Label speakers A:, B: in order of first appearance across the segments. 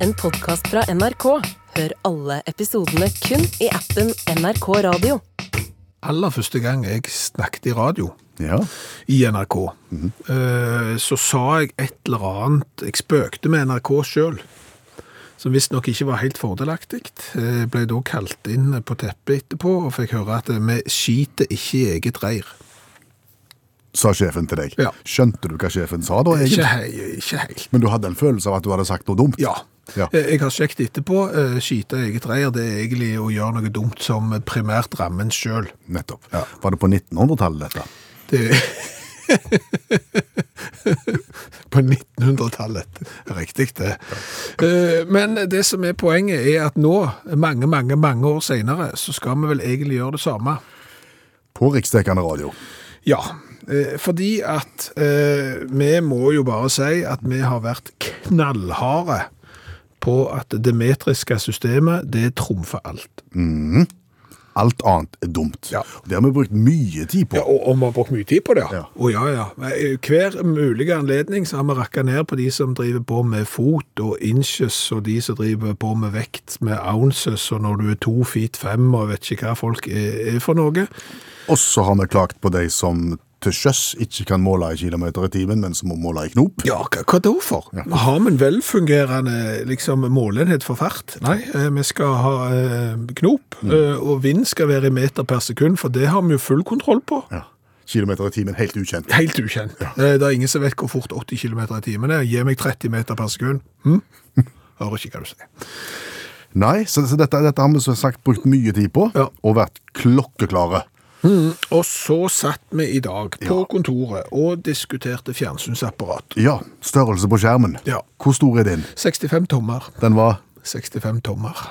A: en podkast fra NRK. Hør alle episodene kun i appen NRK Radio.
B: aller første gang jeg snakket i radio
C: Ja.
B: i NRK, eh, så sa jeg et eller annet Jeg spøkte med NRK sjøl, som visstnok ikke var helt fordelaktig. Jeg ble da kalt inn på teppet etterpå og fikk høre at vi skiter ikke i eget reir.
C: Sa sjefen til deg.
B: Ja.
C: Skjønte du hva sjefen sa da,
B: Ikke,
C: egentlig?
B: he- ikke helt.
C: Men du hadde en følelse av at du hadde sagt noe dumt?
B: Ja.
C: Ja.
B: Eh, Jeg har sjekket etterpå. eh, Skite i eget reir, det er egentlig å gjøre noe dumt som primært rammer en sjøl.
C: Nettopp.
B: Ja.
C: Var det på 1900-tallet, dette?
B: Det På 1900-tallet. Riktig, det. Eh, Men det som er poenget, er at nå, mange, mange mange år senere, så skal vi vel egentlig gjøre det samme.
C: På riksdekkende radio.
B: Ja. eh, Fordi at eh, vi må jo bare si at vi har vært knallharde på at det metriske systemet, det trumfer alt.
C: Alt annet er dumt.
B: Ja.
C: Det har vi brukt mye tid på.
B: Ja, og, og vi har brukt mye tid på det, ja.
C: Ja.
B: Å, ja, ja. Men, eh, Hver mulige anledning så har vi rakka ned på de som driver på med fot og inches, og de som driver på med vekt med ounces, og når du er to feet fem, og jeg vet ikke hva folk er, er for noe.
C: Og så har vi klagt på de som til sjøs ikke kan måle i kilometer i timen, men som må måle i knop.
B: Ja, hva, hva da for? Har vi en velfungerende liksom, målenhet for fart? Nei, eh, vi skal ha eh, knop, eh, og vind skal være i meter per sekund, for det har vi jo full kontroll på.
C: Ja. Kilometer i timen, helt ukjent.
B: Helt ukjent. Eh, Det er ingen som vet hvor fort 80 km i timen er. Gi meg 30 meter per sekund. Hm? Hører ikke hva du sier.
C: Nei, så, så dette, dette har vi som sagt brukt mye tid på,
B: Ja.
C: og vært klokkeklare.
B: Og så satt vi i dag på kontoret og diskuterte fjernsynsapparat.
C: Ja, størrelse på skjermen.
B: Ja.
C: Hvor stor er din?
B: 65 tommer.
C: Den var
B: 65 tommer.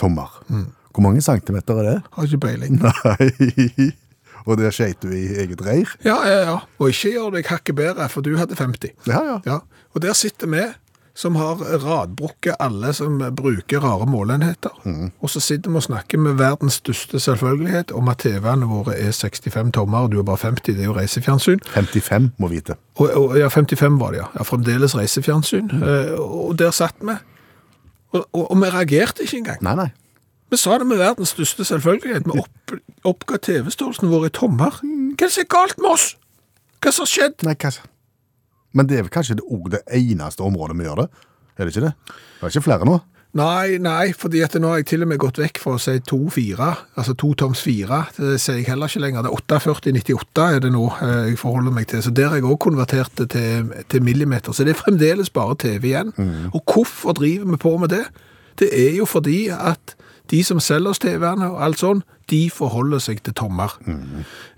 C: tommer. Hvor mange centimeter er det?
B: Har ikke peiling.
C: Nei. Og der skjeit du i eget reir?
B: Ja, ja, ja. Og ikke gjør deg hakket bedre, for du hadde 50.
C: Ja, ja.
B: Ja. Og der sitter vi som har radbrukket alle som bruker rare målenheter. Og så sitter vi og snakker med verdens største selvfølgelighet om at TV-ene våre er 65 tommer, og du er bare 50, det er jo reisefjernsyn.
C: 55 må vite.
B: Og, og, ja, 55 var det, ja. ja fremdeles reisefjernsyn. Eh, og der satt vi. Og, og, og vi reagerte ikke engang.
C: Nei, nei.
B: Vi sa det med verdens største selvfølgelighet. Vi opp, oppga TV-størrelsen vår i tommer. Hva er det som er galt med oss? Hva som har skjedd?
C: Nei, hva Men det er vel kanskje det, også det eneste området vi gjør det? Er det ikke det? Det er ikke flere nå?
B: Nei, nei, fordi at nå har jeg til og med gått vekk fra å si 2-4, altså 2 toms 4. Det sier jeg heller ikke lenger. Det er 48-98 er det nå eh, jeg forholder meg til. Så der har jeg også konvertert det til, til millimeter. Så det er fremdeles bare TV igjen. Og hvorfor driver vi på med det? Det er jo fordi at de som selger oss TV-ene og alt sånn, de forholder seg til tommer.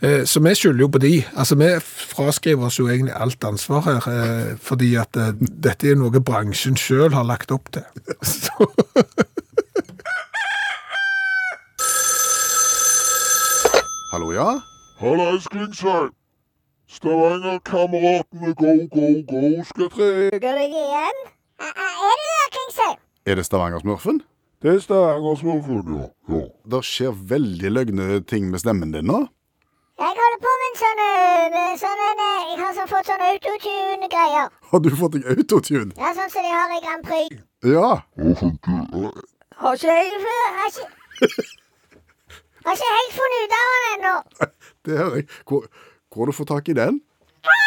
B: Eh, Så vi skylder jo på de. Altså, vi fraskriver oss jo egentlig alt ansvar her, eh, fordi at eh, dette er noe bransjen selv har lagt opp til. Så...
C: Hallo, ja?
D: Hallais, Klingsheim! Stavanger-kameratene go, go, go skal tre.
E: Går jeg igjen? Er det det, Klingsheim?
C: Er det Stavanger-smurfen?
D: Det er Stavanger-smurfen, ja. ja.
C: Det skjer veldig løgne ting med stemmen din nå.
E: Jeg holder på med en sånn, øh, med sånn en, øh, Jeg har sånn fått sånn autotune-greier.
C: Har du fått deg autotune?
E: Ja, sånn som de har i Grand Prix.
C: Ja.
D: Å, funker.
E: Har ikke jeg før? Har ikke Har ikke helt funnet ut av den ennå.
C: Det hører jeg. Hvor, hvor har du fått tak i den?
E: Øh,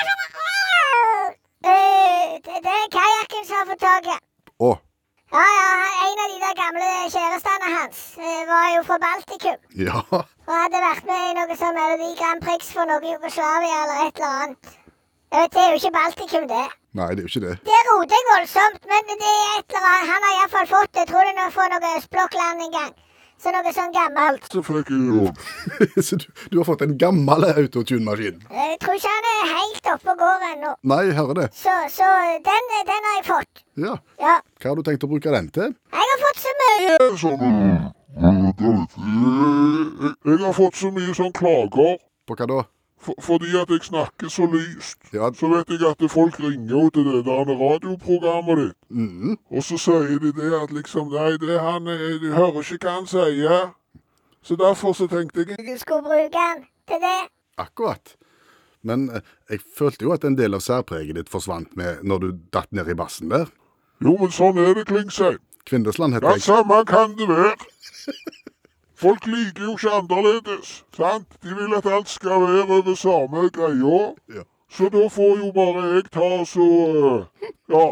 E: det det er kajakken som har fått taket.
C: Å,
E: Ja, ja, han- en av de der gamle kjærestene hans øh, var jo fra Baltikum.
C: ja.
E: Og hadde vært med i noe sånn Melodi Grand Prix for noe Jugoslavia eller et eller annet. Jeg vet, Det er jo ikke Baltikum, det.
C: Nei, det er jo ikke det.
E: Det roter jeg voldsomt, men det er et eller annet. Han har iallfall fått det. Tror det nå får noe østblokkland en gang. Så noe sånn gammelt.
D: Så fikk jeg jo.
C: Så du, du har fått en gammel autotune-maskin?
E: Jeg Eh, tror ikke han er helt oppe og går ennå.
C: Nei, jeg hører det.
E: Så, så den, den har jeg fått.
C: Ja.
E: Ja.
C: Hva har du tenkt å bruke den til?
E: Jeg har fått så mye
D: Sånn, øh, øh, det er litt- Jeg- Jeg har fått så mye sånn klager.
C: På hva da?
D: For, fordi at jeg snakker så lyst,
C: Ja.
D: så vet jeg at folk ringer jo til det der radioprogrammet ditt.
C: Mhm.
D: Og så sier de det at liksom Nei, det er han eh, Du hører ikke hva han sier. Så derfor så tenkte jeg
E: Du skulle bruke den til det.
C: Akkurat. Men eh, jeg følte jo at en del av særpreget ditt forsvant med når du datt ned i bassen der.
D: Jo, men sånn er det, Klingsheim.
C: Kvindesland heter
D: Ja,
C: jeg.
D: samme kan det være. Folk liker jo ikke annerledes, sant? De vil at alt skal være over samme greia.
C: Ja.
D: Så da får jo bare jeg ta så eh, Ja.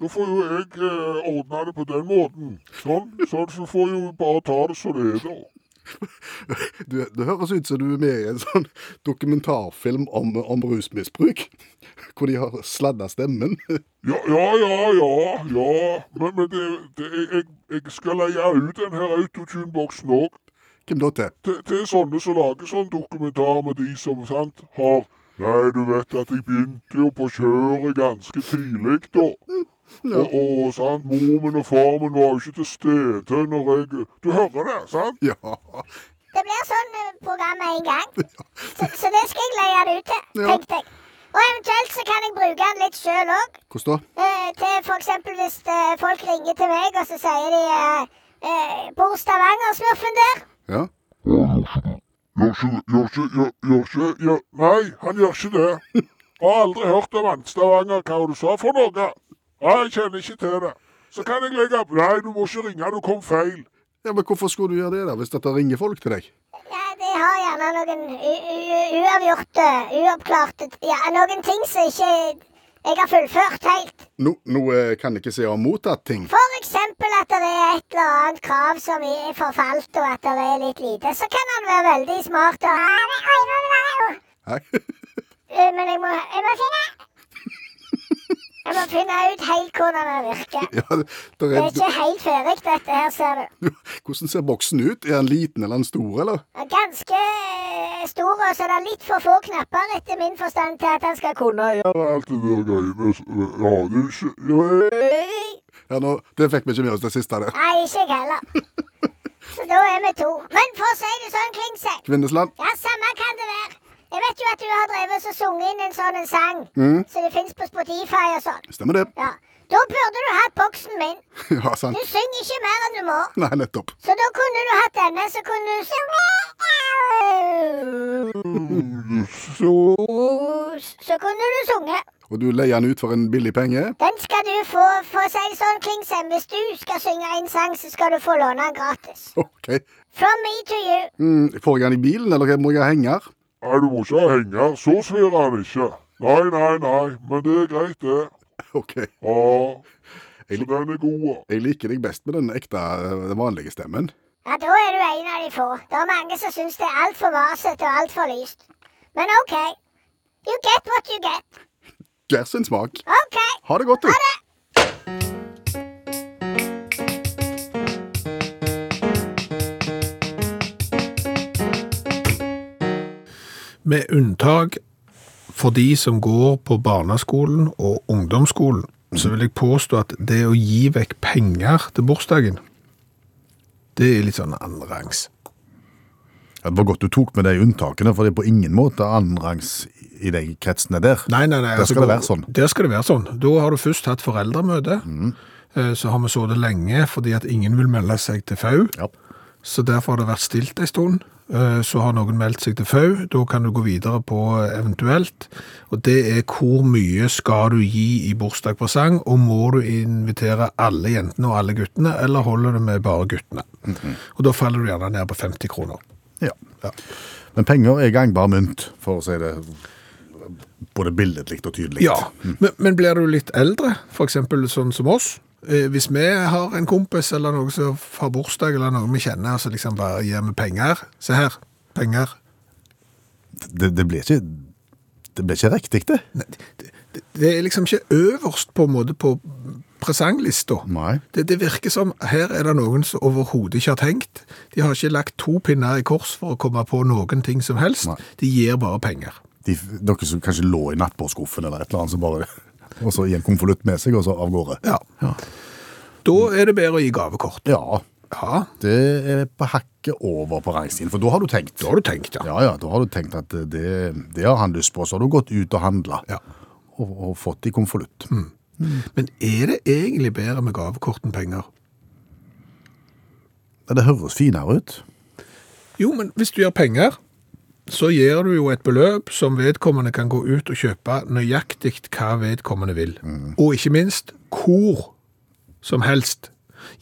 D: Da får jo jeg eh, ordne det på den måten. Sånn. sånn så får jo bare ta det som det er, da.
C: Du, det høres ut som du er med i en sånn dokumentarfilm om, om rusmisbruk. Hvor de har sladda stemmen.
D: Ja, ja, ja, ja. ja. Men, men det, det, jeg, jeg skal leie ut den her autotune-boksen òg.
C: Hvem da til?
D: til, til sånne som lager sånn dokumentar med de som sant, har Nei, du vet at jeg begynte jo på kjøret ganske tidlig, da. Og, og sant, mor min og far min var jo ikke til stede når jeg Du hører det, sant?
C: Ja.
E: Det blir sånn eh, program med en gang. Så, så det skal jeg leie det ut til,
C: Ja.
E: tenkte jeg. Og eventuelt så kan jeg bruke den litt sjøl òg.
C: Hvordan da?
E: Eh, til f.eks. hvis eh, folk ringer til meg, og så sier de eh, eh, Bor Stavanger-smurfen der?
C: Ja.
D: Gjør ikke Gjør ikke Gjør, gjør ikke gjør, Nei, han gjør ikke det. Har aldri hørt om han. Stavanger, hva var det du sa for noe? Nei, jeg kjenner ikke til det. Så kan jeg legge opp Nei, du må ikke ringe, du kom feil.
C: ja, men hvorfor skulle du gjøre det, da, hvis dette ringer folk til deg?
E: Ja, de har gjerne noen u- u- uavgjorte, uoppklarte Ja, noen ting som ikke jeg har fullført helt.
C: Nå nå, eh, kan jeg ikke si jeg har mottatt ting.
E: For eksempel at det er et eller annet krav som er forfalt, og at det er litt lite. Så kan han være veldig smart og Ja, det er øynene,
C: Nei.
E: Eh, Men jeg må, jeg må finne Jeg må finne ut helt hvordan den virker.
C: Ja, det, der
E: Det er
C: er,
E: ikke helt ferdig, dette her, ser du.
C: du, hvordan ser boksen ut? Er den liten eller den stor, eller?
E: Den er Ganske eh, stor, og så er det litt for få knapper etter min forstand til at han skal kunne gjøre
D: Ja, Alt det der greiene med Ja, det er ikke ja,
C: Ja, nå, Det fikk vi ikke med oss det siste der.
E: Nei, ikke jeg heller. Så da er vi to. Men for å si det sånn, Klingsheim
C: Kvindesland?
E: Ja, samme kan det være. Jeg vet jo at du har drevet og sunget inn en sånn en sang, så det fins på Spotify og sånn.
C: Stemmer det.
E: Ja. Da burde du hatt boksen min.
C: Ja,
E: Du
C: sant.
E: synger ikke mer enn du må.
C: Nei, nettopp.
E: Så da kunne du hatt denne, så kunne du sunget Så kunne du sunget.
C: Og du leier den ut for en billig penge?
E: Den skal du få, for å si det sånn, Klingsheim. Hvis du skal synge en sang, så skal du få låne den gratis.
C: OK.
E: From me to you.
C: Mm, får jeg den i bilen, eller må jeg ha henger?
D: Nei, du må ikke ha henger. Så svir han ikke. Nei, nei, nei. Men det er greit, det.
C: OK.
D: Ja. Så den er god. ja.
C: Jeg liker deg best med den ekte, eh, den vanlige stemmen.
E: Ja, da er du en av de få. Det er mange som syns det er altfor masete og altfor lyst. Men OK. You get what you get.
C: Hver sin smak.
E: OK.
C: Ha det godt, du.
E: Ha det!
B: Med unntak for de som går på barneskolen og ungdomsskolen, så vil jeg påstå at det å gi vekk penger til bursdagen, det er litt sånn annenrangs.
C: Ja, det var godt du tok med de unntakene, for det er på ingen måte annenrangs i de kretsene der.
B: Nei, nei, nei.
C: Der skal det
B: gå-
C: være sånn. Mm.
B: Der skal det være sånn. Da har du først hatt foreldremøte. Eh, Så har vi så det lenge fordi at ingen vil melde seg til FAU.
C: Ja.
B: Så derfor har det vært stilt en stund. Eh, Så har noen meldt seg til FAU. Da kan du gå videre på eh, eventuelt. Og det er hvor mye skal du gi i bursdagspresang, og må du invitere alle jentene og alle guttene, eller holder du med bare guttene? Og da faller du gjerne ned på 50 kroner.
C: Ja. Men penger er gangbar mynt, for å si det både billedlig og tydelig.
B: Ja, men, men blir du litt eldre, f.eks. sånn som oss? Eh, Hvis vi har en kompis eller noen som har bursdag, eller noen vi kjenner, så liksom bare gir vi penger. Se her, penger.
C: Det, det blir ikke det blir ikke riktig, det.
B: Nei, det, det, det er liksom ikke øverst på en måte på presanglista.
C: Nei.
B: Det, det virker som her er det noen som overhodet ikke har tenkt. De har ikke lagt to pinner i kors for å komme på noen ting som helst.
C: Nei.
B: De gir bare penger.
C: De, noe som kanskje lå i nattbordskuffen eller et eller annet, som bare Og så i en konvolutt med seg, og så av gårde.
B: Ja. Da er det bedre å gi gavekort.
C: Ja.
B: Ja,
C: Det er på hakket over på rangstien, for da har du tenkt.
B: da har du tenkt, ja.
C: Ja, ja, da har du tenkt at det, det har han lyst på. Så har du gått ut og handla,
B: Ja. Mm.
C: og, og fått i konvolutt.
B: Men er det egentlig bedre med gavekort enn penger?
C: Ja, Det høres finere ut.
B: Jo, men hvis du gir penger, så gir du jo et beløp som vedkommende kan
C: Mm.
B: gå ut og kjøpe nøyaktig hva vedkommende vil. Og ikke minst hvor som helst.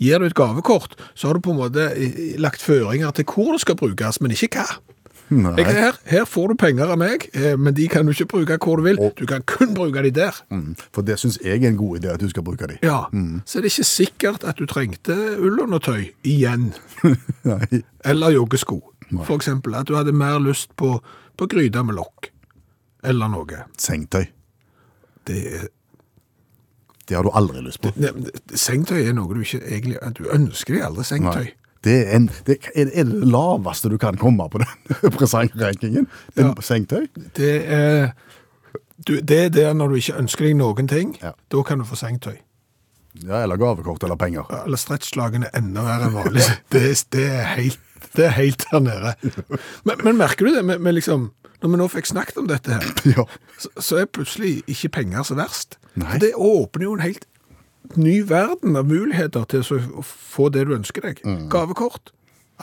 B: Gir du et gavekort, så har du på en måte eh, lagt føringer til hvor det skal brukes, men ikke hva.
C: Nei.
B: Jeg, her, her får du penger av meg, eh, men de kan du ikke bruke hvor du vil.
C: Og-
B: Du kan kun bruke de der.
C: Mm, For det syns jeg er en god idé at du skal bruke de.
B: Ja, Så er det ikke sikkert at du trengte ullundertøy igjen,
C: Nei.
B: eller joggesko. For eksempel at du hadde mer lyst på, på gryta med lokk, eller noe.
C: Sengetøy.
B: Det er
C: Det har du aldri lyst på.
B: Ne- ne- Sengetøy er noe du ikke egentlig Du ønsker deg aldri sengetøy.
C: Nei. Det er, en, det er er det laveste du kan komme på den presangrenkingen.
B: Ja.
C: Sengetøy.
B: Det er du, Det er der når du ikke ønsker deg noen ting.
C: Ja.
B: Da kan du få sengetøy.
C: Ja, eller gavekort eller penger.
B: Ja, Eller stretchlagene er enda verre enn vanlig. Det, er- det er helt det er helt der nede. Men, men merker du det? Med, med liksom, når vi nå fikk snakket om dette, her,
C: Ja.
B: så, så er plutselig ikke penger så verst.
C: Nei.
B: For Det åpner jo en helt ny verden av muligheter til å så- å få det du ønsker deg. Gavekort.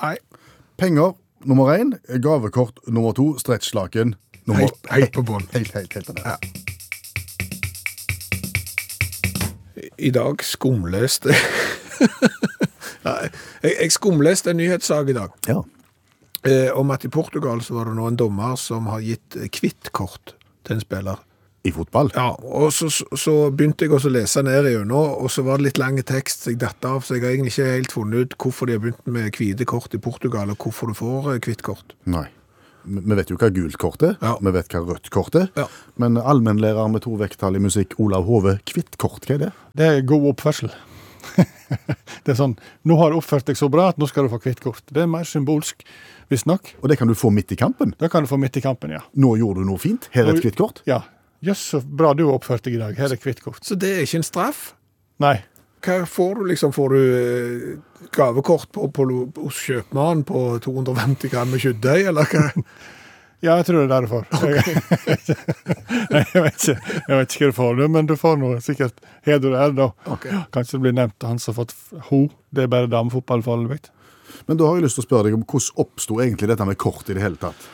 B: Nei,
C: Penger nummer én, gavekort nummer to, stretchlaken nummer
B: helt, helt på bånn.
C: Helt, helt, helt, ned.
B: I dag skumleste Nei, jeg, jeg skumleste en nyhetssak i dag
C: Ja.
B: eh, om at i Portugal så var det nå en dommer som har gitt eh, kvitt-kort til en spiller.
C: I fotball.
B: Ja, og så, så- så begynte jeg også å lese ned igjennom, og så var det litt lang tekst så jeg datt av, så jeg har egentlig ikke helt funnet ut hvorfor de har begynt med hvite kort i Portugal, og hvorfor du får eh, kvitt-kort.
C: Nei. Vi vi vet jo hva gult kort er,
B: Ja.
C: vi vet hva rødt kort er.
B: Ja.
C: Men allmennlærer med to vekttall i musikk, Olav Hove, kvitt kort, hva er det?
F: Det er god oppførsel. det er sånn Nå har du oppført deg så bra at nå skal du få hvitt kort. Det er mer symbolsk, visstnok.
C: Og det kan du få midt i kampen.
F: Da kan du få midt i kampen, ja.
C: Nå gjorde du noe fint, her er et
F: Og-
C: kvitt kort.
F: Ja. Jøss, så bra du oppførte deg i dag. Her er hvitt kort.
B: Så det er ikke en straff.
F: Nei.
B: Hva får du liksom? Får du eh, gavekort på, på, hos kjøpmannen på 250 gram med kjøttdeig, eller hva?
F: Ja, jeg tror det er derfor. Nei, jeg vet ikke Jeg vet ikke hva du får, nå, men du får nå sikkert heder og ære, da. Kanskje det blir nevnt han som har fått f- ho. Det er bare damefotball foreløpig.
C: Men da har jeg lyst til å spørre deg om hvordan oppsto egentlig dette med kort i det hele tatt?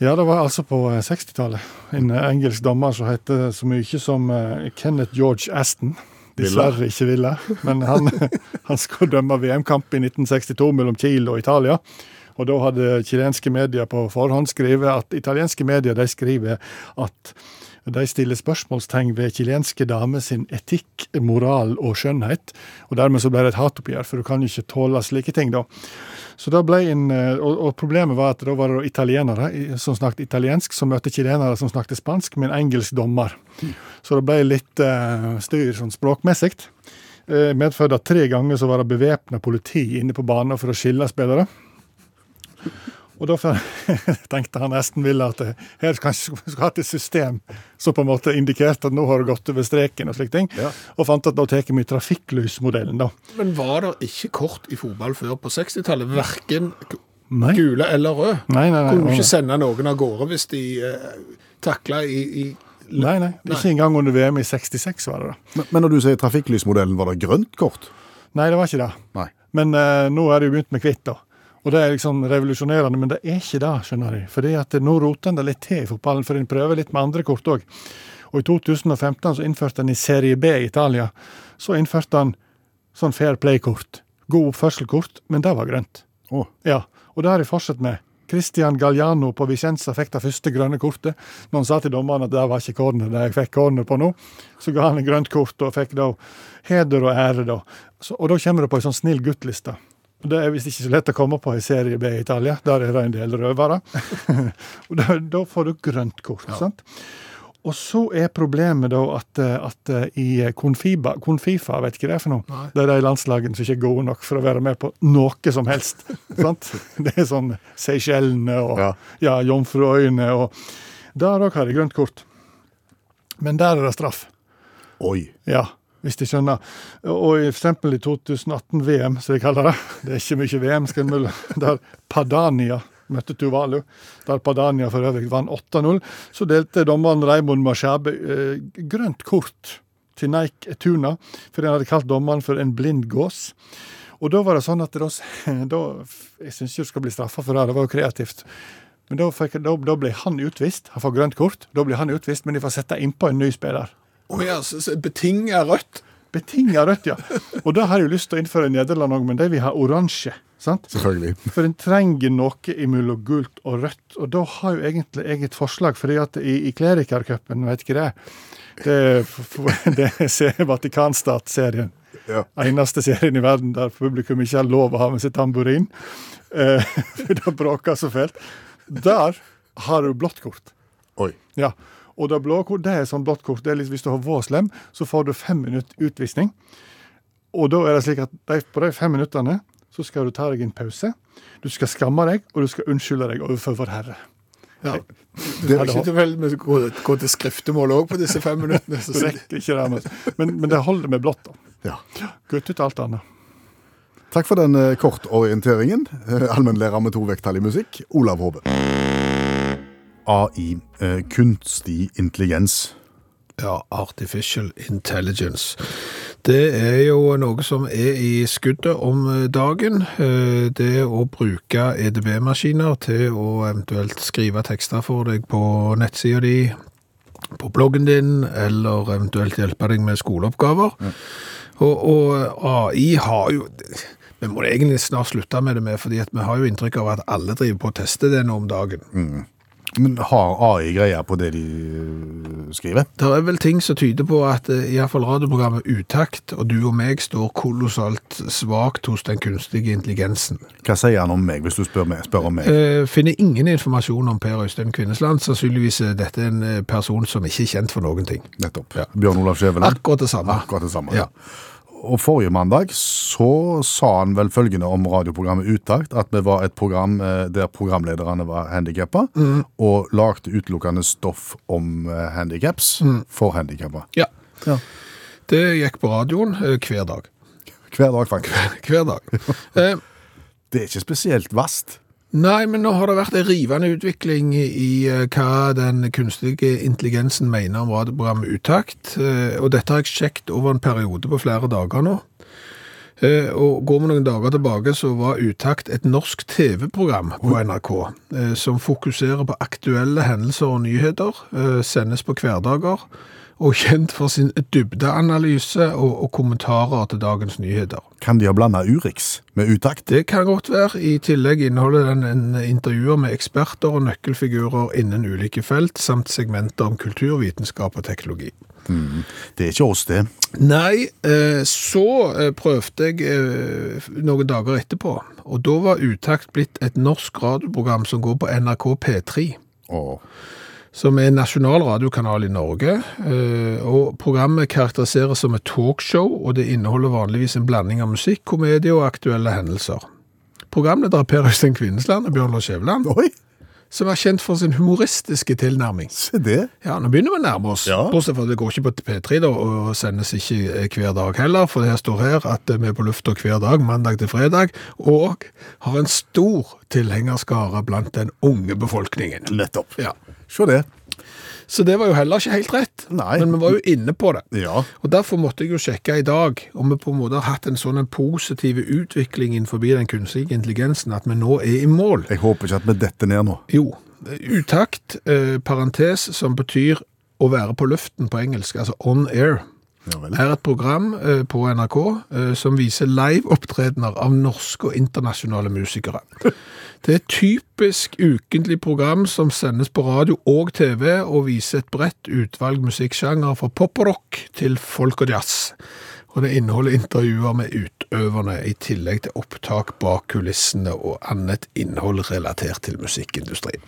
F: Ja, det var altså på eh, 60-tallet. En eh, engelsk dommer som heter så mye som eh, Kenneth George Aston. Dessverre ikke ville, men han, han skulle dømme VM-kamp i 1962 mellom Kiel og Italia. Og da hadde chilenske medier på forhånd skrevet at italienske medier de skriver at de stiller spørsmålstegn ved chilenske damer sin etikk, moral og skjønnhet. Og dermed så ble det et hatoppgjør, for du kan jo ikke tåle slike ting, da. Så da ble en, eh, og, og problemet var at da var det da italienere i- som snakket italiensk, som møtte chilenere som snakket spansk, med en engelsk dommer. Så det ble litt eh, styr sånn språkmessig. Eh, medførte at tre ganger så var det bevæpna politi inne på banen for å skille spillere. Og da tenkte han nesten ville at eh, her kanskje skulle skulle hatt et system som på en måte indikerte at nå har det gått over streken, og slike ting.
C: Ja.
F: Og fant at da tar vi trafikklysmodellen, da.
B: Men var det ikke kort i fotball før på 60-tallet? Verken
F: Nei.
B: gule eller rød?
F: Nei, nei, nei.
B: Kunne du ikke sende noen av gårde hvis de eh, takla i, i
F: Nei, nei, Ikke engang under VM i 66 var det det.
C: Men, men når du sier trafikklysmodellen, var det grønt kort?
F: Nei, det var ikke det.
C: Nei.
F: Men eh, nå er det jo begynt med hvitt, da. Og det er liksom revolusjonerende, men det er ikke det, skjønner du. Fordi at eh, nå roter en det litt til i fotballen, for en prøver litt med andre kort òg. Og i 2015 så innførte en i Serie B i Italia, så innførte en sånn fair play-kort. God oppførselkort, men det var grønt.
C: Å,
F: Ja, og det har de fortsatt med. Christian Galliano på Vicenza fikk det første grønne kortet. Når han sa til dommeren at det var ikke corner, det jeg fikk corner på nå, så ga han et grønt kort og fikk da heder og ære, da. Så, og da kommer det på ei sånn snill gutt-liste. Og Det er visst ikke så lett å komme på i Serie B i Italia. Der er det en del røvere. og da, da får du grønt kort. sant? Og så er problemet da at, eh, at eh, i Konfiba, Konfifa, vet ikke hva det er for noe, det er de landslagene som ikke er gode nok for å være med på noe som helst. sant? Det er sånn Seychellene og ja.
C: Ja.
F: Jomfruøyene og Der òg har de grønt kort. Men der er det straff.
C: Oi.
F: Ja, hvis de skjønner. Og i- for eksempel i 2018-VM, som de kaller det. Det er ikke mye VM, skal en vel- der Padania møtte Tuvalu. Der Padania for øvrig vant 8-0. Så delte dommeren Raymond Mashabe eh, grønt kort til Naik Tuna, fordi han hadde kalt dommeren for en blind gås. Og da var det sånn at da, s- da Jeg syns ikke du skal bli straffa for det, det var jo kreativt. Men da, fikk, da, da ble han utvist. Han får grønt kort, da blir han utvist, men de får sette innpå en ny spiller.
B: Å ja, så, så betinga rødt?
F: Betinga rødt, ja. Og det har jeg jo lyst til å innføre i Nederland òg, men de vil ha oransje. sant?
C: Selvfølgelig.
F: For en trenger noe imellom gult og rødt, og da har jo egentlig jeg et forslag. fordi at i, i Klerikercupen, vet ikke det Det er, f- f- det er se- Vatikanstat-serien.
G: Ja.
F: Eneste serien i verden der publikum ikke har lov å ha med seg tamburin. Eh, for det bråker så fælt. Der har du blått kort.
G: Oi.
F: Ja. Og det blå kort, det er sånn blått kort. Det er litt, hvis du har vært slem, så får du fem minutter utvisning. Og da er det slik at de, på de fem minuttene så skal du ta deg en pause. Du skal skamme deg, og du skal unnskylde deg overfor vår Herre.
B: Ja. Det er ikke tilfeldig med å gå, gå til skriftemål òg på disse fem minuttene.
F: Du
B: Så
F: rekker ikke det, men- men, men det holder med blått. da.
C: Ja.
F: Kutt ut alt annet.
C: Takk for den eh, kortorienteringen. Eh, Allmennlærer med to vekttall i musikk, Olav Hove. AI, eh, kunstig intelligens.
B: Ja, Artificial Intelligence. Det er jo noe som er i skuddet om dagen. Eh, Det å bruke EDB-maskiner til å eventuelt skrive tekster for deg på nettsida di, på bloggen din, eller eventuelt hjelpe deg med skoleoppgaver. Og, og AI har jo Vi må egentlig snart slutte med det, med, fordi at vi har jo inntrykk av at alle driver på og tester det nå om dagen.
C: Men har AI greier på det de eh, skriver?
B: Det er vel ting som tyder på at eh, i hvert fall radioprogrammet Utakt og du og meg står kolossalt svakt hos den kunstige intelligensen.
C: Hva sier han om meg, hvis du spør, meg, spør om meg?
B: Eh, finner ingen informasjon om Per Øystein Kvinnesland. Sannsynligvis er dette en eh, person som ikke er kjent for noen ting.
C: Nettopp. Bjørn Olav Skjæveland.
B: Akkurat det samme.
C: Akkurat det samme.
B: Ja.
C: Og forrige mandag så sa han vel følgende om radioprogrammet Utakt, at vi var et program eh, der programlederne var handikappa,
B: Mm.
C: og lagde utelukkende stoff om eh, handicaps
B: Mm.
C: for handikappa.
B: Ja.
C: Ja.
B: Det gikk på radioen eh, hver dag.
C: Hver dag, faktisk.
B: Hver dag. Eh,
C: Det er ikke spesielt vast.
B: Nei, men nå har det vært en rivende utvikling i eh, hva den kunstige intelligensen mener om radioprogrammet Utakt. eh, Og dette har jeg sjekket over en periode på flere dager nå. Eh, Og går vi noen dager tilbake, så var Utakt et norsk TV-program på NRK, eh, som fokuserer på aktuelle hendelser og nyheter, eh, sendes på hverdager, og kjent for sin dybdeanalyse og, og kommentarer til dagens nyheter.
C: Kan de ha blanda Urix med Utakt?
B: Det kan godt være. I tillegg inneholder den en intervjuer med eksperter og nøkkelfigurer innen ulike felt, samt segmenter om kultur, vitenskap og teknologi.
C: Det er ikke oss, det.
B: Nei, eh, så eh, prøvde jeg eh, noen dager etterpå, og da var Utakt blitt et norsk radioprogram som går på NRK P3.
C: Å,
B: Som er en nasjonal radiokanal i Norge. eh, Og programmet karakteriseres som et talkshow, og det inneholder vanligvis en blanding av musikk, komedie og aktuelle hendelser. Programleder er Per Øystein Kvinnesland og Bjørn Lars Skjæveland,
C: Oi,
B: som er kjent for sin humoristiske tilnærming.
C: se det.
B: Ja, nå begynner vi å nærme oss.
C: Ja.
B: Bortsett fra at det går ikke på P3 da, og sendes ikke eh, hver dag heller, for det står her at eh, vi er på lufta hver dag, mandag til fredag, og har en stor tilhengerskare blant den unge befolkningen.
C: Nettopp.
B: Ja.
C: Se det.
B: Så det var jo heller ikke helt rett,
C: Nei.
B: men vi var jo inne på det.
C: Ja.
B: Og Derfor måtte jeg jo sjekke i dag om vi på en måte har hatt en sånn en positiv utvikling innenfor den kunstige intelligensen at vi nå er i mål.
C: Jeg håper ikke at vi detter ned nå.
B: Jo, utakt, eh, parentes, som betyr å være på luften på engelsk, altså on air,
C: Ja vel.
B: er et program eh, på NRK eh, som viser live-opptredener av norske og internasjonale musikere. Det er et typisk ukentlig program som sendes på radio og TV, og viser et bredt utvalg musikksjanger fra pop og rock til folk og jazz. Og det inneholder intervjuer med utøverne, i tillegg til opptak bak kulissene og annet innhold relatert til musikkindustrien.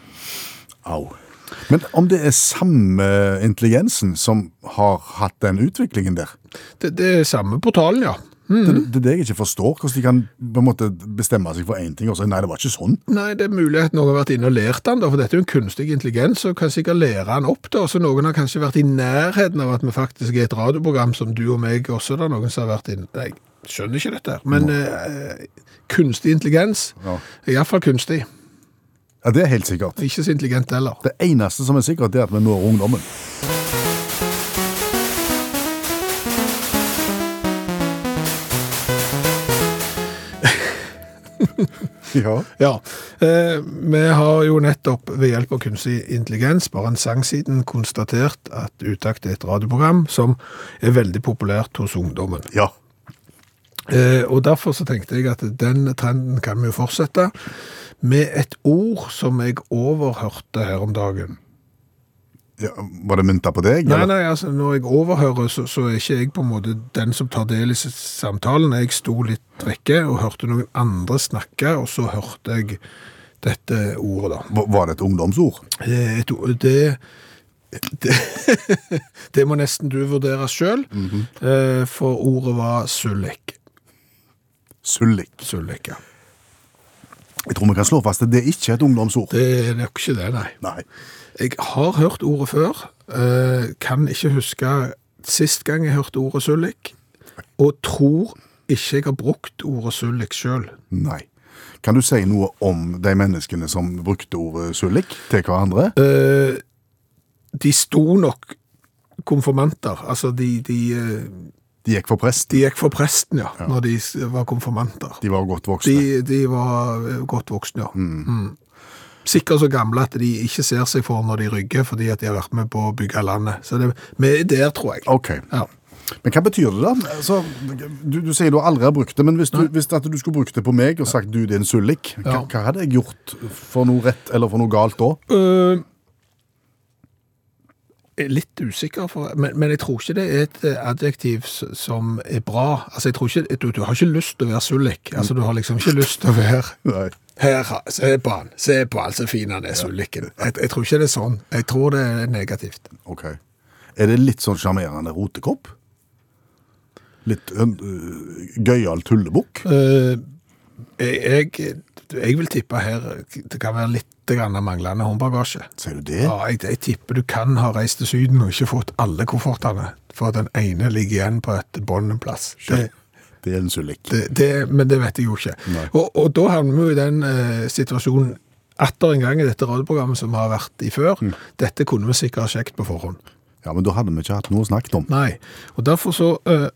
C: Au. Men om det er samme intelligensen som har hatt den utviklingen der,
B: Det, det er samme portalen, ja.
C: det, det er det jeg ikke forstår. Hvordan de kan på en måte bestemme seg for én ting og så nei, det var ikke sånn.
B: Nei, det er mulig at noen har vært inne og lært den, da, for dette er jo en kunstig intelligens, og kan sikkert lære den opp, da. Så noen har kanskje vært i nærheten av at vi faktisk er et radioprogram som du og meg også, da. Noen som har vært inne Nei, jeg skjønner ikke dette. her. Men eh, kunstig intelligens
C: Ja.
B: er iallfall kunstig.
C: Ja, Det er helt sikkert.
B: Ikke så intelligent heller.
C: Det eneste som er sikkert, det er at vi når ungdommen. Ja.
B: Ja, eh, vi har jo nettopp ved hjelp av kunstig intelligens bare en sang siden konstatert at Utakt er et radioprogram som er veldig populært hos ungdommen.
C: ja.
B: Eh, og derfor så tenkte jeg at den trenden kan vi jo fortsette med et ord som jeg overhørte her om dagen.
C: ja. Var det mynta på deg?
B: Nei,
C: eller?
B: nei, altså når jeg overhører, så, så er ikke jeg på en måte den som tar del i s- samtalen. Jeg sto litt vekke og hørte noen andre snakke, og så hørte jeg dette ordet da.
C: Va- Var det et ungdomsord?
B: Eh, Et ord, det... Det, det må nesten du vurdere selv, eh, for ordet var sullik.
C: Sullik.
B: Sullik, ja.
C: Jeg tror vi kan slå fast at det er ikke et ungdomsord.
B: Det er nok ikke det, nei.
C: Nei.
B: Jeg har hørt ordet før, eh, kan ikke huske sist gang jeg hørte ordet sullik, og tror ikke jeg har brukt ordet sullik selv.
C: Nei. Kan du si noe om de menneskene som brukte ordet sullik til hverandre?
B: Eh, de sto nok konfirmanter, altså de, de, eh,
C: De gikk for prest.
B: de gikk for presten, ja, når de s- var konfirmanter.
C: De var godt voksne.
B: De, de var eh, godt voksne, ja. Mm. Sikkert så gamle at de ikke ser seg for når de rygger, fordi at de har vært med på å bygge landet. Så det, vi er der, tror jeg.
C: Ok.
B: Ja.
C: Men hva betyr det, da? Altså, du, du sier du aldri har brukt det, men hvis, du, hvis at du skulle brukt det på meg og sagt du din sullik, hva,
B: Ja.
C: hva hadde jeg gjort for noe rett eller for noe galt da?
B: Øh, jeg er litt usikker, for, men, men jeg tror ikke det er et eh, adjektiv s- som er bra. Altså, jeg tror ikke, du, du har ikke lyst til å være sullik. Altså, du har liksom ikke lyst til å være
C: Nei.
B: her, ha- se på han, se på han, så fin han er, sulliken. Jeg, jeg tror ikke det er sånn. Jeg tror det er negativt.
C: Ok. Er det litt sånn sjarmerende rotekopp? Litt øh, gøyal tullebukk?
B: Øh, jeg, jeg, jeg vil tippe her det kan være litt grann manglende håndbagasje.
C: Sier du det?
B: Ja, jeg, jeg tipper du kan ha reist til syden og ikke fått alle koffertene, for den ene ligger igjen på et bånd en plass. Det,
C: Det er en sullik.
B: det, det, men det vet jeg jo ikke. Og, og da havner vi jo i den eh, situasjonen atter en gang i dette radioprogrammet som vi har vært i før. Dette kunne vi sikkert ha sjekket på forhånd.
C: Ja, men da hadde vi ikke hatt noe å snakke om.
B: Nei, og derfor så eh,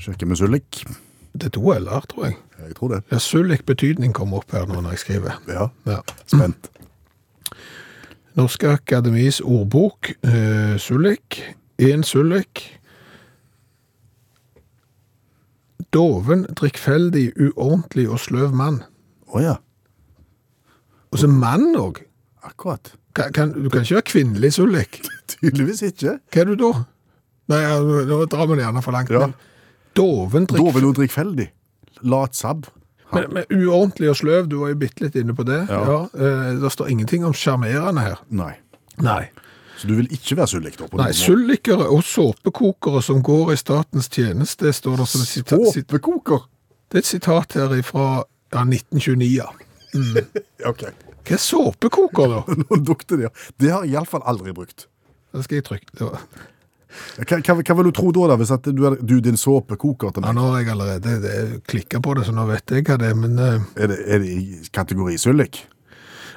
C: Sjekke med sullik.
B: Det er to l-er, tror jeg.
C: Jeg tror det.
B: Ja, Sullik betydning kom opp her nå når jeg skriver.
C: Ja,
B: Ja.
C: spent.
B: Norske Akademis ordbok, eh, Sullik, en Sullik. Doven, drikkfeldig, uordentlig og sløv mann.
C: Å ja,
B: Og så mann òg.
C: akkurat.
B: Kan, kan, du kan ikke være kvinnelig Sullik.
C: Tydeligvis ikke.
B: Hva er du da? Nei, ja, nå nå drar vi det gjerne for langt.
C: Ja.
B: Men doven,
C: Da vil
B: drikkfeldig
C: hun drikkfeldig. Latsabb.
B: men, men uordentlig og sløv, du var jo bitte litt inne på det. Ja.
C: Ja.
B: eh, det står ingenting om sjarmerende her.
C: Nei.
B: Nei.
C: Så du vil ikke være sullik, da? på
B: Nei,
C: noen måte?
B: Sullikere og såpekokere som går i statens tjeneste, står det som et sitat. sit-
C: Såpekoker?
B: Det er et sitat her fra ja, 1929. ja.
C: Ok,
B: Hva er såpekoker, da?
C: nå dukte det. Det har jeg iallfall aldri brukt.
B: Da skal jeg trykke. det var-
C: Hva, hva, hva vil du tro da, da hvis at du, er, du din såpekoker til
B: Ja,
C: meg?
B: nå har jeg allerede klikka på det, så nå vet jeg hva det er. Men eh,
C: Er det, er det i kategori sullik?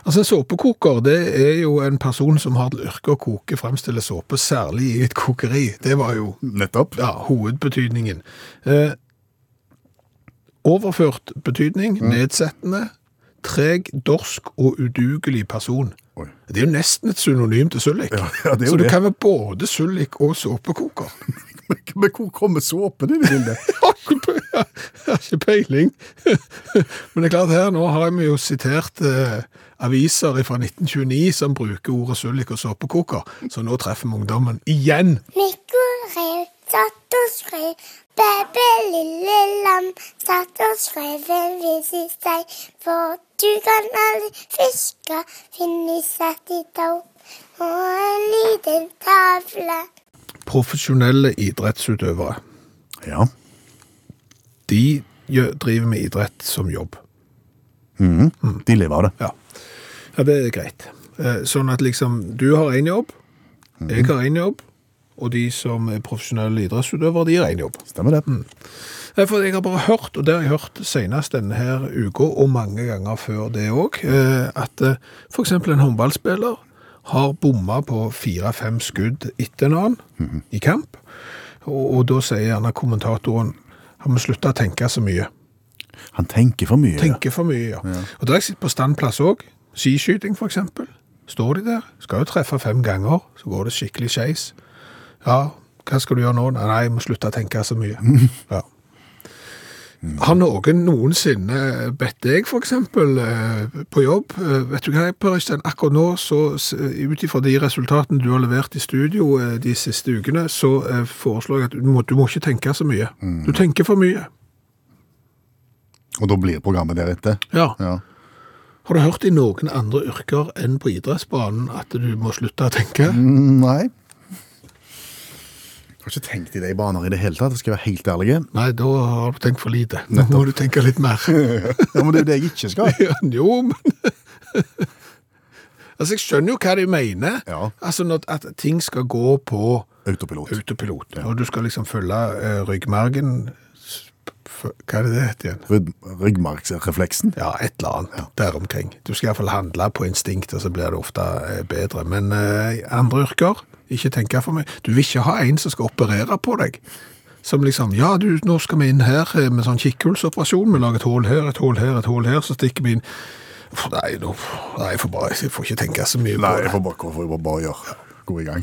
B: altså, en såpekoker det er jo en person som har til yrke å koke fremstille såpe, særlig i et kokeri. Det var jo
C: Nettopp.
B: ja, hovedbetydningen. Eh, overført betydning,
C: Mm.
B: nedsettende, treg, dorsk og udugelig person.
C: Oi.
B: Det er jo nesten et synonym til sullik.
C: Ja, ja, det er jo
B: så du
C: det.
B: kan være både sullik og såpekoker.
C: Men hvor kommer såpen inn i bildet?
B: Jeg har ikke pe- jeg har ikke peiling. Men det er klart her, nå har vi jo sitert eh, aviser fra 1929 som bruker ordet sullik og såpekoker, så nå treffer vi ungdommen igjen.
H: Mikko rev, satt og skrev. Bebe, lille lam, satt og skrev en vise i seg. For du kan aldri fiske, finne satt i tau. Og en liten tavle.
B: Profesjonelle idrettsutøvere.
C: Ja.
B: De gjø- driver med idrett som jobb.
C: De lever av det.
B: Ja, ja det er greit. Eh, Sånn at liksom, du har én jobb, jeg har én jobb, og de som er profesjonelle idrettsutøvere, de har én jobb.
C: Stemmer det.
B: Mm. Nei, For jeg har bare hørt, og det har jeg hørt senest denne her uka, og mange ganger før det òg, at eh, for eksempel en håndballspiller har bomma på fire-fem skudd etter en annen i kamp. Og, og da sier gjerne kommentatoren har vi slutta å tenke så mye.
C: Han tenker for mye.
B: Tenker for mye, ja. Og da har jeg sittet på standplass òg. Skiskyting, f.eks. Står de der, skal jo treffe fem ganger, så går det skikkelig skeis. Ja, hva skal du gjøre nå? Nei, jeg må slutte å tenke så mye. Ja. Har noen noensinne bedt deg, for eksempel, eh, på jobb eh, Vet du hva, Per Øystein, akkurat nå, så s- eh, ut ifra de resultatene du har levert i studio eh, de siste ukene, så eh, foreslår jeg at du må, du må ikke tenke så mye. Du tenker for mye.
C: Og da blir programmet deretter.
B: Ja.
C: Ja.
B: Har du hørt i noen andre yrker enn på idrettsbanen at du må slutte å tenke?
C: Mm, Nei. Jeg har ikke tenkt i de baner i det hele tatt, skal jeg være helt ærlig.
B: Nei, da har du tenkt for lite. Nå må du tenke litt mer.
C: Ja, men det er jo det jeg ikke skal.
B: Ja, jo, men Altså, jeg skjønner jo hva de mener.
C: Ja.
B: Altså, når, At ting skal gå på
C: Autopilot.
B: autopilot. Og du skal liksom følge eh, ryggmargen s- f- Hva er det det heter igjen?
C: Rygg- Ryggmargsrefleksen.
B: Ja, et eller annet der omkring. Du skal iallfall handle på instinkt, og så blir det ofte eh, bedre. Men eh, andre yrker, ikke tenke for meg. Du vil ikke ha en som skal operere på deg. Som liksom Ja, du, nå skal vi inn her eh, med sånn kikkhullsoperasjon. Vi lager et hull her, et hull her, et hull her, så stikker vi inn Uff, Nei, nå, nei jeg, får bare, jeg får ikke tenke så mye på
C: Nei,
B: det.
C: jeg får bare, får jeg bare, bare gjøre. Gå i gang.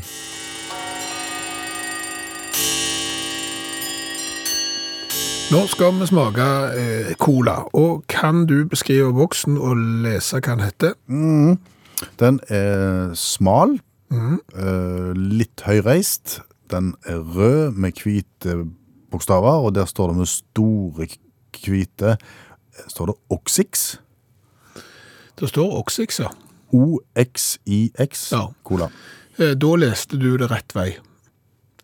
B: Nå skal vi smake eh, cola. Og kan du beskrive boksen og lese hva den heter?
C: Mhm. Den er smal, eh, litt høyreist. Den er rød med hvite bokstaver, og der står det med store k- hvite eh, Står det Oxix?
B: Det står Oxix, ja.
C: OXIX
B: Ja.
C: cola.
B: Eh, Da leste du det rett vei.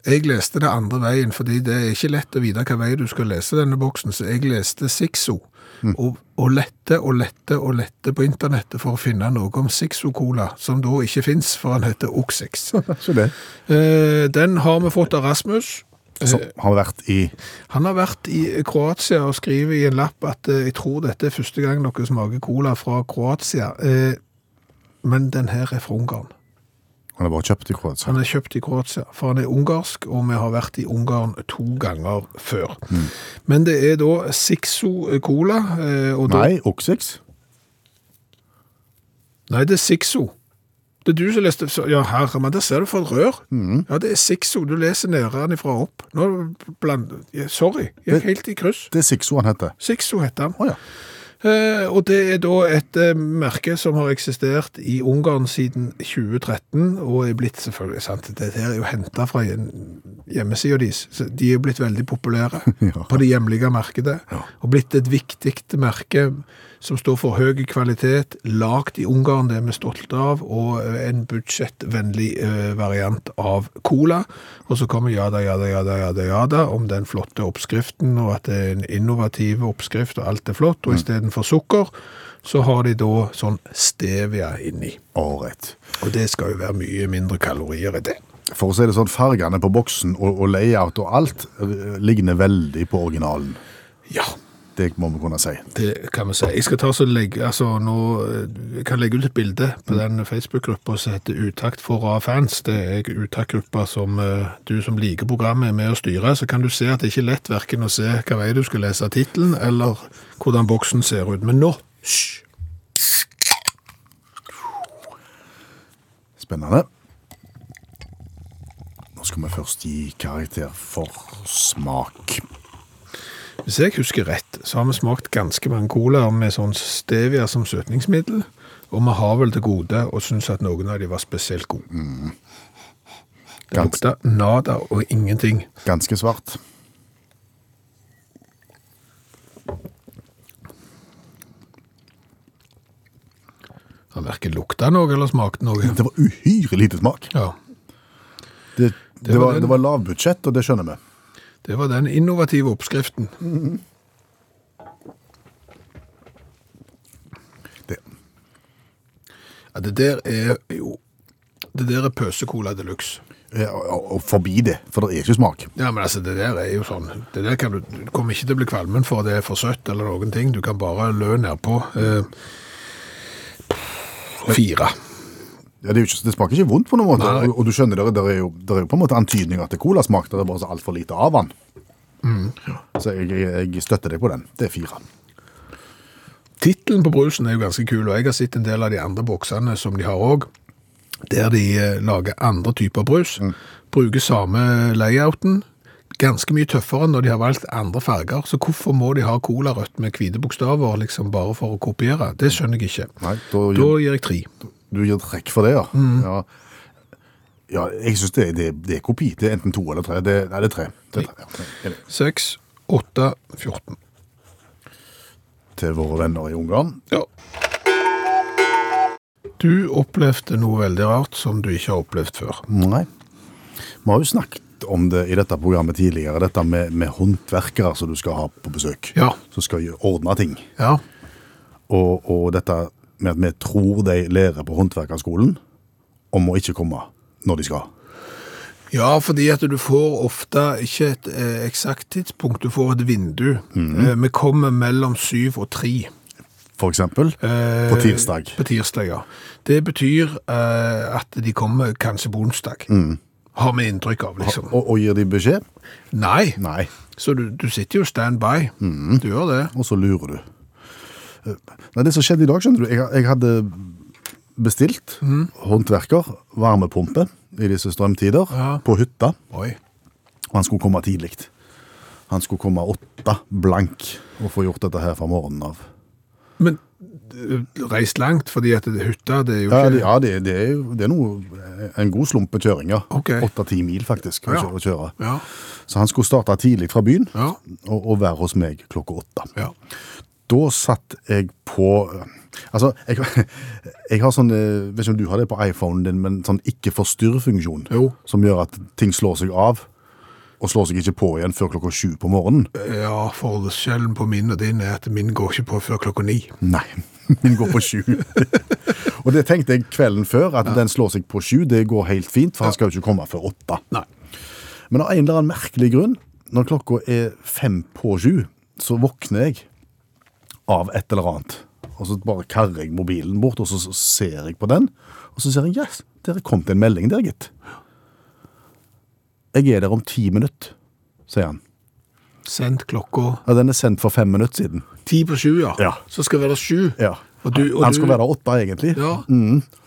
B: Jeg leste det andre veien, fordi det er ikke lett å vite hvilken vei du skal lese denne boksen, så jeg leste Sixo.
C: Mm.
B: Og, og lette og lette og lette på internettet for å finne noe om Sixo-cola, som da ikke fins, for han heter Oxix.
C: Så det.
B: Eh, Den har vi fått av Rasmus.
C: Som har vært i
B: Han har vært i Kroatia og skriver i en lapp at eh, jeg tror dette er første gang dere smaker cola fra Kroatia, eh, men den her er fra Ungarn.
C: Han har bare kjøpt i Kroatia.
B: Han er kjøpt i Kroatia, for han er ungarsk, og vi har vært i Ungarn to ganger før. Men det er da Sixo Cola, eh, og da...
C: Nei, Oxix.
B: Nei, det er Sixo. Det er du som leste... så- Ja, herre, men der ser du for et rør. Ja, det er Sixo. Du leser nede ifra og opp. Nå bland... ja, Sorry, jeg
C: Det-
B: er helt i kryss.
C: Det er Sixo han heter.
B: Sixo heter han.
C: Å ja.
B: Eh, Og det er da et eh, merke som har eksistert i Ungarn siden 2013, og er blitt selvfølgelig sant, det her er jo hentet fra hjemmesida deres. så De er jo blitt veldig populære
C: Ja.
B: på det hjemlige markedet, og blitt et viktig merke som står for høy kvalitet, lagd i Ungarn, det er vi stolte av, og eh, en budsjettvennlig eh, variant av cola. Og så kommer ja da, ja da, ja da, ja da, ja da, om den flotte oppskriften, og at det er en innovativ oppskrift, og alt er flott. Og istedenfor sukker, så har de da sånn stevia inni.
C: Ålreit.
B: Og det skal jo være mye mindre kalorier i det.
C: For å si det sånn, fargene på boksen og, og layout og alt eh, ligner veldig på originalen.
B: Ja,
C: Det må vi kunne si.
B: Det kan vi si. Jeg skal ta så legge, altså nå, eh, jeg kan legge ut et bilde på den Facebook-gruppa som heter Utakt for rare fans. Det er Utakt-gruppa som eh, du som liker programmet er med å styre. Så kan du se at det ikke er lett verken å se hva vei du skal lese tittelen, eller hvordan boksen ser ut. Men nå, hysj!
C: Spennende. Nå skal vi først gi karakter for smak.
B: Hvis jeg husker rett, så har vi smakt ganske mange colaer med sånn stevia som søtningsmiddel. Og vi har vel til gode og syns at noen av de var spesielt gode. Det
C: Gans-
B: lukta nada og ingenting.
C: Ganske svart.
B: Han verken lukta noe eller smakte noe.
C: Det var uhyre lite smak.
B: Ja,
C: Det, det,
B: var
C: var,
B: den.
C: det var lavbudsjett, og det skjønner vi.
B: Det var den innovative oppskriften.
C: Det.
B: Ja, det der er jo Det der er pøsecola de luxe.
C: Ja, eh, Og, og forbi det, for det er ikke smak.
B: Ja, men altså, det der er jo sånn Det der kan du, du kommer ikke til å bli kvalmen for det er for søtt eller noen ting. Du kan bare lø nedpå. Eh, fire.
C: Ja, det, er jo ikke, det smaker ikke vondt på noen måte.
B: Nei.
C: Og, og du skjønner, det, det, er jo, det er jo på en måte antydninger til colasmak.
B: Mm.
C: Det er bare så altfor lite av den. Så jeg, jeg, jeg støtter deg på den. Det er fire.
B: Tittelen på brusen er jo ganske kul, og jeg har sett en del av de andre boksene som de har òg, der de eh, lager andre typer brus. Bruker samme layouten. Ganske mye tøffere når de har valgt andre farger. Så hvorfor må de ha colarødt med hvite bokstaver liksom bare for å kopiere? Det skjønner jeg ikke.
C: Nei, da,
B: Da Mm. gir jeg tre.
C: Du gir trekk for det, ja. ja. Ja, jeg syns det, det, det er kopi. Det er enten to eller tre. Det, nei, det er tre. Det er tre ja. Enig.
B: 6, 8, 14.
C: Til våre venner i Ungarn.
B: Ja. Du opplevde noe veldig rart som du ikke har opplevd før.
C: Nei. Vi har jo snakket om det i dette programmet tidligere, dette med, med håndverkere som du skal ha på besøk.
B: Ja.
C: Som skal ordne ting.
B: Ja,
C: Og, og dette med at vi tror de lærer på håndverkerskolen om å ikke komme når de skal.
B: ja fordi at du får ofte ikke et eh, eksakt tidspunkt, du får et vindu.
C: Mhm.
B: eh, vi kommer mellom syv og tre.
C: For eksempel
B: eh,
C: på tirsdag.
B: På tirsdag, ja. Det betyr eh, at de kommer kanskje på onsdag.
C: Mhm.
B: Har vi inntrykk av, liksom.
C: Og, og gir de beskjed?
B: Nei,
C: Nei.
B: så du, du sitter jo standby.
C: Mhm.
B: Du gjør det.
C: og så lurer du. Eh, Nei, det som skjedde i dag, skjønner du, jeg, jeg hadde bestilt håndverker, varmepumpe i disse strømtider,
B: Ja.
C: på hytta,
B: Oi.
C: og han skulle komme tidlig. Han skulle komme åtte blank og få gjort dette her fra morgenen av.
B: Men eh, reist langt, fordi at det- hytta, det er jo
C: Ja,
B: ikke
C: det, ja, det, det er, jo- det er noe, en god slumpe kjøring, ja.
B: Ok.
C: Åtte-ti mil faktisk å
B: Ja.
C: kjøre- å kjøre.
B: Ja,
C: Så han skulle starte tidlig fra byen
B: ja,
C: og, og være hos meg klokka åtte.
B: ja.
C: da satt jeg på Altså, jeg, jeg har sånn eh, Vet ikke om du har det på iPhonen din, men sånn ikke-forstyrr-funksjon.
B: Jo.
C: Som gjør at ting slår seg av, og slår seg ikke på igjen før klokka sju på morgenen.
B: Ja, forskjellen på min og din er at min går ikke på før klokka ni.
C: Nei. Min går på sju. og det tenkte jeg kvelden før, at den slår seg på sju. Det går helt fint, for han skal jo ikke komme før åtte.
B: Nei.
C: Men av en eller annen merkelig grunn, når klokka er fem på sju, så våkner jeg av et eller annet. Og så bare karrer jeg mobilen bort, og så så ser jeg på den. Og så ser jeg yes, der kom det en melding der, gitt. Jeg er der om ti minutter, sier han.
B: Sendt klokka
C: Ja, den er sendt for fem minutter siden.
B: ti på sju, ja.
C: Ja.
B: Så skal det være sju.
C: Ja.
B: Og du- og
C: han
B: du-
C: skulle være Mm. der åtte, egentlig.
B: Ja.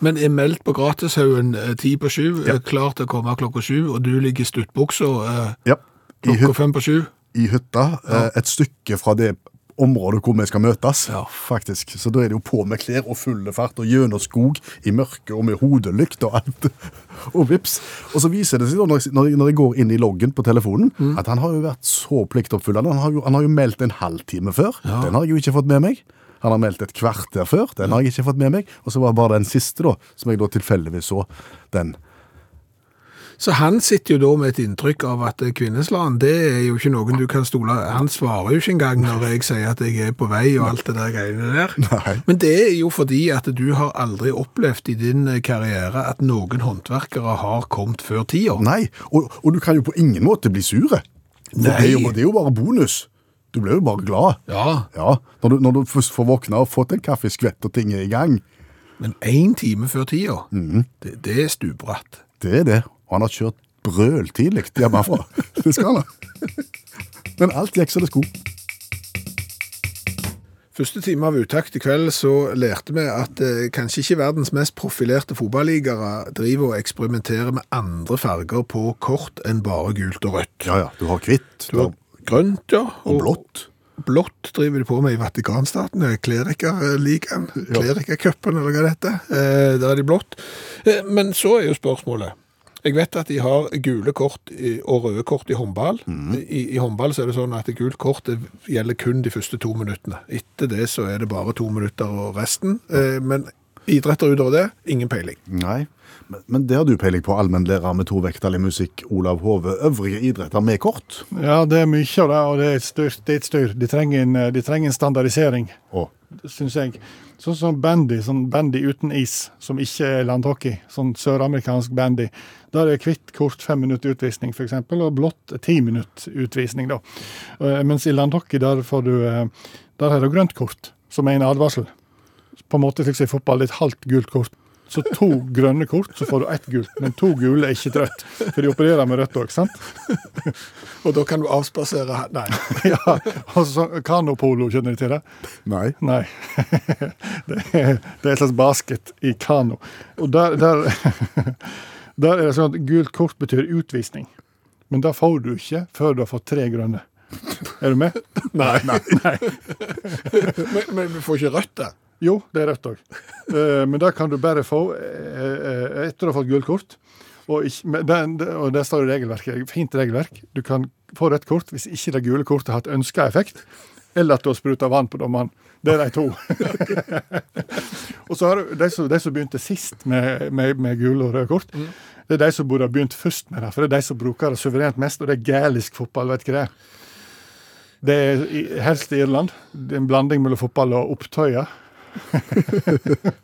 B: Men er meldt på Gratishaugen eh, ti på sju, er klar til å komme klokka sju, og du ligger i stuttbuksa eh,
C: Ja. I,
B: klokka
C: hyt,
B: fem på sju.
C: I hytta, eh, et stykke fra det området hvor vi skal møtes,
B: Ja.
C: faktisk. Så da er det jo på med klær og fulle fart og gjennom skog i mørke og med hodelykt og alt. Og vips. Og så viser det seg da, når jeg, når jeg- når jeg går inn i loggen på telefonen, at han har jo vært så pliktoppfyllende. Han har jo, han har jo meldt en halvtime før. Den har jeg jo ikke fått med meg. Han har meldt et kvarter før. Den har jeg ikke fått med meg. Og så var det bare den siste, da, som jeg da tilfeldigvis så. Den.
B: Så han sitter jo da med et inntrykk av at eh, kvinnesland, det er jo ikke noen du kan stole Han svarer jo ikke engang når jeg sier at jeg er på vei og alt det der greiene der.
C: Nei.
B: Men det er jo fordi at du har aldri opplevd i din eh, karriere at noen håndverkere har kommet før tida.
C: Nei, og, og du kan jo på ingen måte bli sure. For Det, er jo, det er jo bare bonus. Du blir jo bare glad.
B: Ja,
C: Ja, når du, når du først får våkne og fått en kaffeskvett og ting er i gang.
B: men én time før tida, det, det er stupbratt.
C: Det er det. Og han har kjørt brøl tidlig hjemmefra. Det skal han ha. Men alt gikk som det skulle.
B: Første time av uttakt i kveld så lærte vi at eh, kanskje ikke verdens mest profilerte fotballigere driver og eksperimenterer med andre farger på kort enn bare gult og rødt.
C: Ja, ja. Du har hvitt.
B: Du har grønt, ja.
C: og blått.
B: Blått driver de på med i Vatikanstaten, eh, klerikerligaen, klerikercupen eller hva det heter. Eh, Der er de blått. Eh, Men så er jo spørsmålet. Jeg vet at de har gule kort i- og røde kort i håndball. I, I håndball så er det sånn at det gult kort det gjelder kun de første to minuttene. Etter det så er det bare to minutter og resten. Eh, Men idretter utover det, ingen peiling.
C: Nei. Men, men det har du peiling på, allmennlærer med to vekttall i musikk, Olav Hove. Øvrige idretter med kort.
F: Ja, det er mye av det, og det er et styr. Det er et styr. De, trenger en, eh, de trenger en standardisering,
C: Og
F: syns jeg. Sånn som bandy, sånn bandy uten is, som ikke er landhockey. Sånn søramerikansk bandy. Der er hvitt kort fem minutter utvisning, f.eks., og blått ti minutter utvisning, da. Eh, Mens i landhockey, der får du eh, Der har du grønt kort, som er en advarsel. På en måte slik som i fotball, det er et halvt gult kort. Så to grønne kort, så får du ett gult. Men to gule er ikke et rødt, for de opererer med rødt òg, sant?
B: Og da kan du avspasere her. Nei.
F: Ja, og så Kanopolo, kjenner du til det?
C: Nei.
F: Nei. Det er, det er et slags basket i kano. Og der, der, der er det sånn at gult kort betyr utvisning. Men det får du ikke før du har fått tre grønne. Er du med?
C: Nei. Nei.
B: Men, men vi får ikke rødt der.
F: Jo, det er rødt òg. Men det kan du bare få eh, eh, etter du har fått gult kort. Og, ikke, men den- det- og der står det regelverket. Fint regelverk. Du kan få rødt kort hvis ikke det gule kortet har hatt ønska effekt, eller at du har spruta vann på dommeren. Det er de to. og så har du de som, de som begynte sist med, med, med gule og røde kort.
C: Mm.
F: Det er de som burde ha begynt først med det, for det er de som bruker det suverent mest, og det er gælisk fotball, vet ikke det. er. Det er i- helst i Irland. Det er en blanding mellom fotball og opptøyer.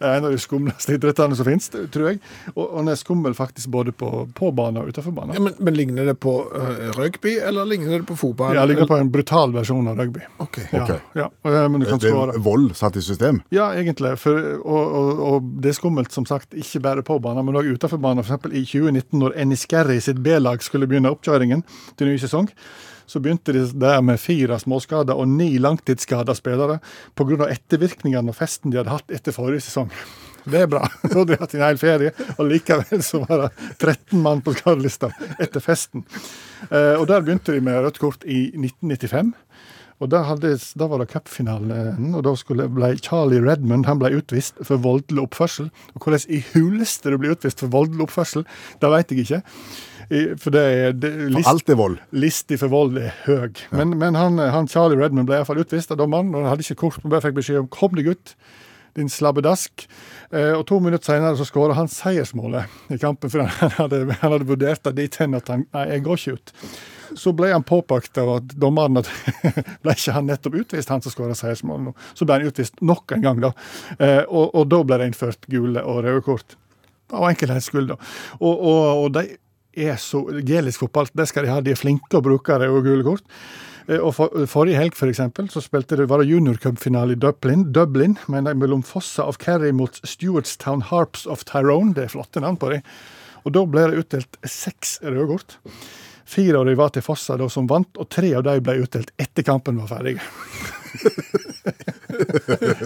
F: Det er en av de skumleste idrettene som finnes, tror jeg. Og, og den er skummel faktisk både på, på banen og utenfor
B: Ja,
F: banen.
B: men, men ligner det på eh, rugby, eller ligner det på fotball?
F: Jeg ligger på en brutal versjon av rugby.
B: Ok.
F: Ja,
C: Ok.
F: ja. eh, Men du kan
C: Det
F: skåre.
C: er vold satt i system.
F: Ja, egentlig. For, og, og, og det er skummelt, som sagt, ikke bare på banen, men òg utenfor banen. For eksempel i 2019, når Eniskerri sitt B-lag skulle begynne oppkjøringen til ny sesong, så begynte de der med fire småskader og ni langtidsskada spillere pga. ettervirkningene og festen de hadde hatt etter forrige sesong. Det er bra. Nå hadde de hatt en hel ferie, og likevel så var det 13 mann på skadelista etter festen. Eh, Og der begynte de med rødt kort i 1995. Og da, hadde, da var det cupfinalen, eh, og da skulle, ble Charlie Redmond han ble utvist for voldelig oppførsel. Og hvordan i huleste du blir utvist for voldelig oppførsel, det vet jeg ikke. I- For det er det, er list,
C: For alt er vold.
F: Listig for vold er høy. Men, men han, han Charlie Redmond ble iallfall utvist av dommeren. og Han hadde ikke kort, men bare fikk beskjed om 'kom deg ut', din slabbedask. Eh, og to minutter senere så skåra han seiersmålet i kampen, for han hadde, han hadde vurdert det dit hen at han Nei, jeg går ikke ut. Så ble han påpakt av at dommeren at ble ikke han nettopp utvist, han som skåra seiersmålet nå. Så ble han utvist nok en gang, da. Eh, og, og da ble det innført gule og røde kort. Av enkelhets skyld, da. Og, og, og de er så Gelisk fotball, det skal de ha. De er flinke å bruke røde og gule kort. Eh, Og for, Forrige helg for eksempel, så spilte det, var det juniorcupfinale i Dublin, Dublin men de mellom Fossa of Kerry mot Stewartstown Harps of Tyrone. Det er flotte navn på dem. Og Da ble det utdelt seks røde kort. Fire av dem var til Fossa, da, som vant, og tre av dem ble utdelt etter kampen var ferdig.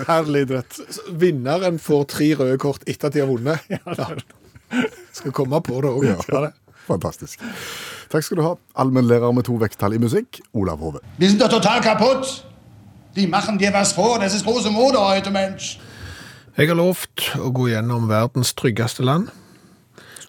F: Herlig idrett.
B: Så Vinneren får tre røde kort etter at de har vunnet. Skal komme på det òg.
C: Ja. Fantastisk. Takk skal du ha, allmennlærer med to vekttall i musikk, Olav Hove.
I: Wir sind doch total kaputt. Die machen dir was vor. Das ist große Mode heute, Mensch.
B: Jeg har lovt å gå gjennom verdens tryggeste land.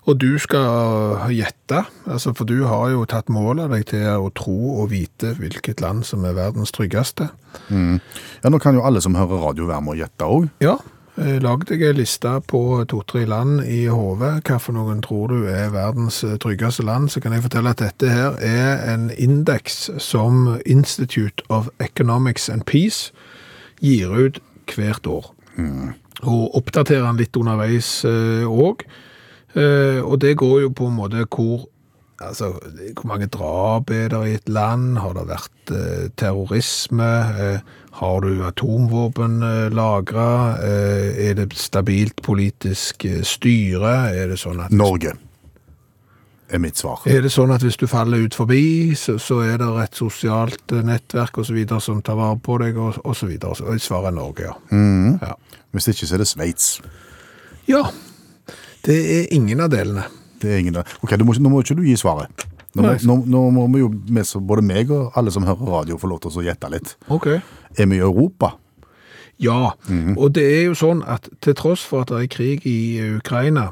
B: Og du skal eh, gjette, altså for du har jo tatt mål av deg til å tro og vite hvilket land som er verdens tryggeste.
C: Ja, Nå kan jo alle som hører radio være med å gjette òg.
B: Ja, eh, lag deg en liste på to-tre land i hodet. Hva for noen tror du er verdens eh, tryggeste land? Så kan jeg fortelle at dette her er en indeks som Institute of Economics and Peace gir ut hvert år. Og oppdaterer den litt underveis òg. og det går jo på en måte hvor Altså, hvor mange drap er det i et land? Har det vært eh, terrorisme? Eh, har du atomvåpen eh, lagra? Eh, er det stabilt politisk eh, styre? Er det sånn at
C: Norge er mitt svar.
B: er det sånn at hvis du faller ut forbi, så, så er det et sosialt eh, nettverk og så videre som tar vare på deg, og, og så videre. Så svaret er Norge, ja. ja.
C: Hvis ikke, så er det Sveits.
B: Ja, det er ingen av delene.
C: Det er ingen der. Ok, du må, ikke- Nå må ikke du gi svaret. Nå må, nå, nå må vi jo, vi som- både meg og alle som hører radio, få lov til å gjette litt.
B: Ok.
C: Er vi i Europa?
B: Ja, og det er jo sånn at til tross for at det er krig i eh, Ukraina,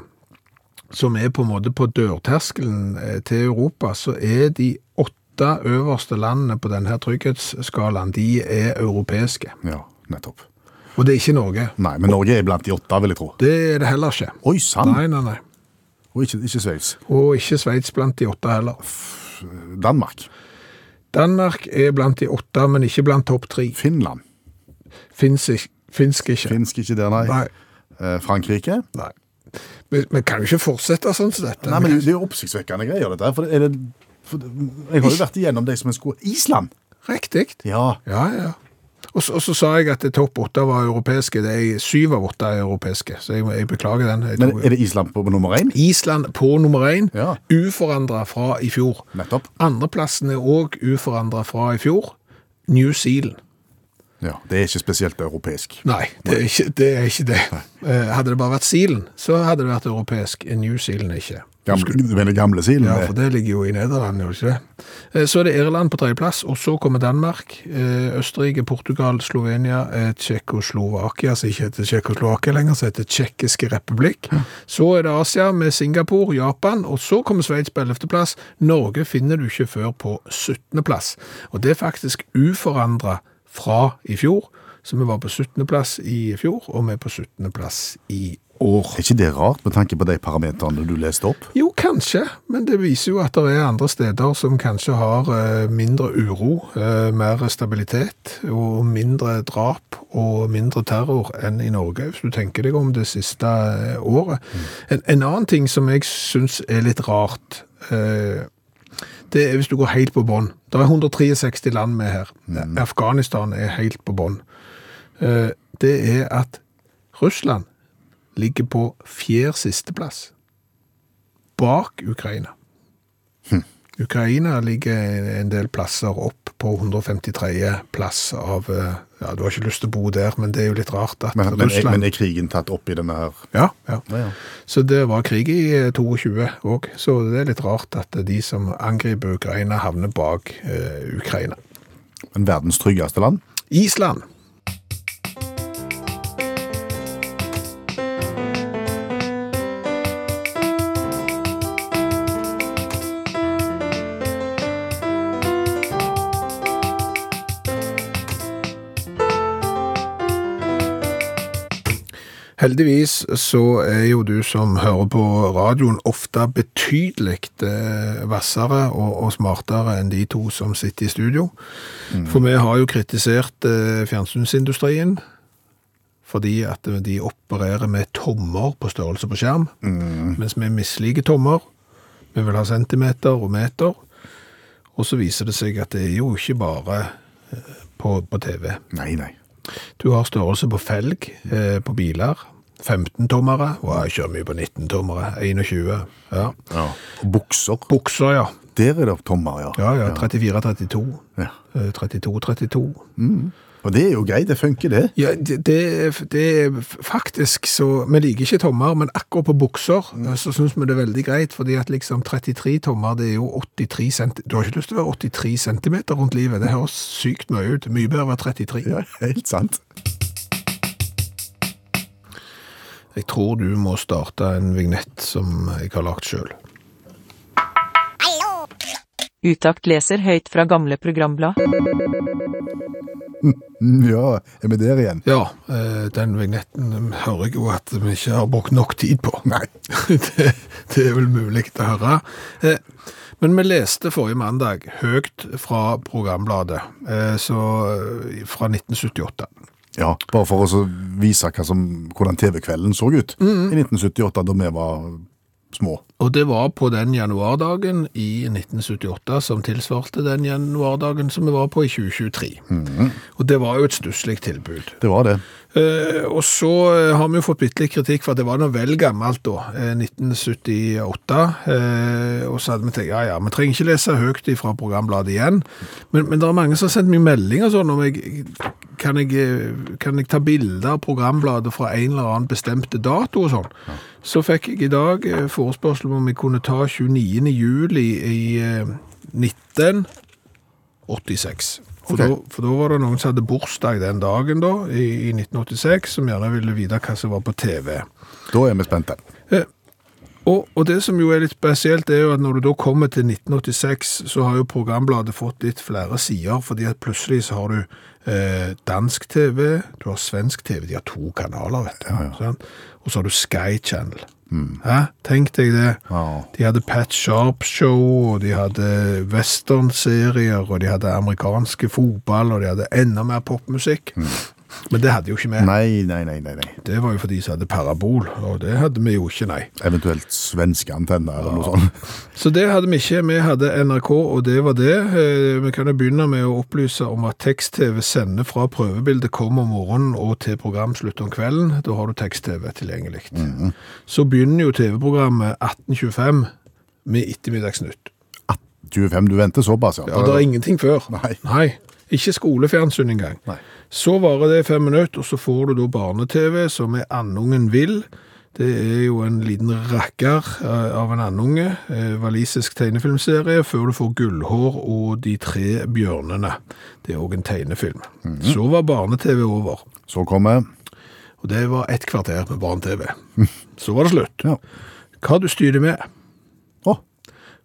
B: som er på en måte på dørterskelen eh, til Europa, så er de åtte øverste landene på denne her trygghetsskalaen, de er europeiske.
C: Ja, nettopp.
B: Og det er ikke Norge.
C: Nei, men Norge er blant de åtte, vil jeg tro.
B: Det er det heller ikke.
C: Oi sann!
B: Nei, nei, nei.
C: Og ikke, ikke Sveits.
B: Og ikke Sveits blant de åtte heller.
C: Danmark.
B: Danmark er blant de åtte, men ikke blant topp tre.
C: Finland.
B: Finns ikke. Finsk ikke.
C: Finsk ikke der, nei.
B: Nei.
C: Eh, Frankrike.
B: nei. Men, men kan jo ikke fortsette sånn som dette.
C: Nei, men det, det er jo oppsiktsvekkende greier, dette her. For er det, for, jeg har jo vært igjennom de som en sko... Island!
B: Riktig.
C: Ja.
B: Ja, ja. Og så, og så sa jeg at topp åtte var europeiske. Det er syv av åtte er europeiske, så jeg, jeg beklager den. Jeg
C: Men
B: tror-
C: er det Island på nummer én?
B: Island på nummer én,
C: Ja.
B: uforandra fra i fjor.
C: Nettopp.
B: Andreplassen er òg uforandra fra i fjor. New Zealand.
C: Ja, Det er ikke spesielt europeisk.
B: Nei, det er ikke det. Er ikke det. Eh, Hadde det bare vært Zealand, så hadde det vært europeisk. New Zealand er ikke det.
C: Gamle, du mener gamle silen?
B: Ja, for det ligger jo i Nederland, gjør det ikke det? Eh, Så er det Irland på tredjeplass, og så kommer Danmark, eh, Østerrike, Portugal, Slovenia, eh, Tsjekkoslovakia, som ikke heter Tsjekkoslovakia lenger, som heter Tsjekkiske republikk. Så er det Asia med Singapore, Japan, og så kommer Sveits på 11. plass. Norge finner du ikke før på 17. plass. Og det er faktisk uforandret fra i fjor, så vi var på 17. plass i fjor, og vi er på 17. plass i år.
C: Er ikke det rart, med tanke på de parameterne du leste opp?
B: Jo, kanskje, men det viser jo at det er andre steder som kanskje har eh, mindre uro, eh, mer stabilitet og mindre drap og mindre terror enn i Norge, hvis du tenker deg om det siste eh, året. En, en annen ting som jeg syns er litt rart, eh, det er hvis du går helt på bånn. Det er 163 land med her. Afghanistan er helt på bånn. Eh, det er at Russland ligger på fjerde sisteplass bak Ukraina. Ukraina ligger en del plasser opp på 153. plass av eh, Ja, du har ikke lyst til å bo der, men det er jo litt rart at
C: Men, men, er,
B: Russland
C: men er krigen tatt opp i denne her?
B: ja, ja.
C: Ja, ja.
B: Så det var krig i eh, 22 òg, så det er litt rart at de som angriper Ukraina, havner bak eh, Ukraina.
C: Men verdens tryggeste land?
B: Island. Heldigvis så er jo du som hører på radioen ofte betydelig eh, vassere og, og smartere enn de to som sitter i studio. For vi har jo kritisert eh, fjernsynsindustrien fordi at de opererer med tommer på størrelse på skjerm, mens vi misliker tommer. Vi vil ha centimeter og meter. Og så viser det seg at det er jo ikke bare eh, på, på TV.
C: Nei, nei.
B: Du har størrelse på felg eh, på biler. 15-tommere. Wow, jeg kjører mye på 19-tommere. 21. Ja.
C: Ja. Og Bukser?
B: Bukser, ja.
C: Der er det tommer, ja.
B: Ja, Eh, ja. 34-32.
C: Ja.
B: 32-32.
C: Og det er jo greit, det funker det.
B: Ja, det, det, er- det er faktisk så Vi liker ikke tommer, men akkurat på bukser eh, så syns vi det er veldig greit. fordi at liksom 33 tommer, det er jo 83 cm Du har ikke lyst til å være 83 cm rundt livet. Det høres sykt mye ut. Mye bedre å være 33.
C: Ja, helt sant.
B: Jeg tror du må starte en vignett som jeg har lagd sjøl.
A: Utakt leser høyt fra gamle programblad.
C: Mm, Ja, er vi der igjen?
B: Ja, eh, den vignetten hører jeg jo at vi ikke har brukt nok tid på. Nei. det, det er vel mulig å høre. Eh, Men vi leste forrige mandag høyt fra programbladet, eh, så eh, fra 1978.
C: Ja, bare for å så vise hva som, hvordan TV-kvelden så ut i 1978, da vi var små.
B: Og det var på den januardagen i 1978 som tilsvarte den januardagen som vi var på i 2023. Og det var jo et stusslig tilbud.
C: Det var det.
B: Eh, og så eh, har vi jo fått bitte litt kritikk for at det var noe vel gammelt da, eh, 1978. Eh, og så hadde vi tenkt, ja ja, vi trenger ikke lese høyt fra programbladet igjen. Men, men det er mange som har sendt meg meldinger sånn om jeg kan, jeg eh, kan jeg ta bilder av programbladet fra en eller annen bestemte dato og sånn. Så fikk jeg i dag eh, forespørsel om jeg kunne ta 29. juli i eh, 19... 86. For,
C: Ok.
B: da, for da var det noen som hadde bursdag den dagen da, i, i 1986, som gjerne ville vite hva som var på TV.
C: Da er vi spente.
B: Og, og det som jo er litt spesielt, er jo at når du da kommer til 1986, så har jo programbladet fått litt flere sider, fordi at plutselig så har du eh, dansk TV, du har svensk TV, de har to kanaler, vet du. sant? Og så har du Sky Channel. Hæ? Tenk deg det.
C: Mm. Ja.
B: De hadde Pat Sharp-show, og de hadde western-serier, og de hadde amerikanske fotball, og de hadde enda mer popmusikk. Men det hadde jo ikke vi.
C: Nei, nei, nei, Mm. nei, nei.
B: Det var jo for de som hadde parabol, og det hadde vi jo ikke, nei.
C: Eventuelt svenske antenner eller noe sånt.
B: Så det hadde vi ikke. Vi hadde NRK, og det var det. Eh, Vi kan jo begynne med å opplyse om at tekst-TV sender fra prøvebildet kom om morgenen og til programslutt om kvelden. Da har du tekst-TV tilgjengelig. Så begynner jo TV-programmet 1825 med Ettermiddagsnytt.
C: 25, du venter såpass, ja.
B: Og det er ingenting før.
C: Nei.
B: Ikke skolefjernsyn engang.
C: Nei.
B: Så varer det i fem minutter, og så får du da barne-TV, som er Andungen vil. Det er jo en liten rakker eh, av en andunge, eh, walisisk tegnefilmserie, før du får Gullhår og De tre bjørnene. Det er òg en tegnefilm.
C: Mhm.
B: Så var barne-TV over.
C: Så kommer
B: Og det var ett kvarter med barne-TV. Så var det slutt.
C: Ja.
B: Hva du styrer med?
C: Å.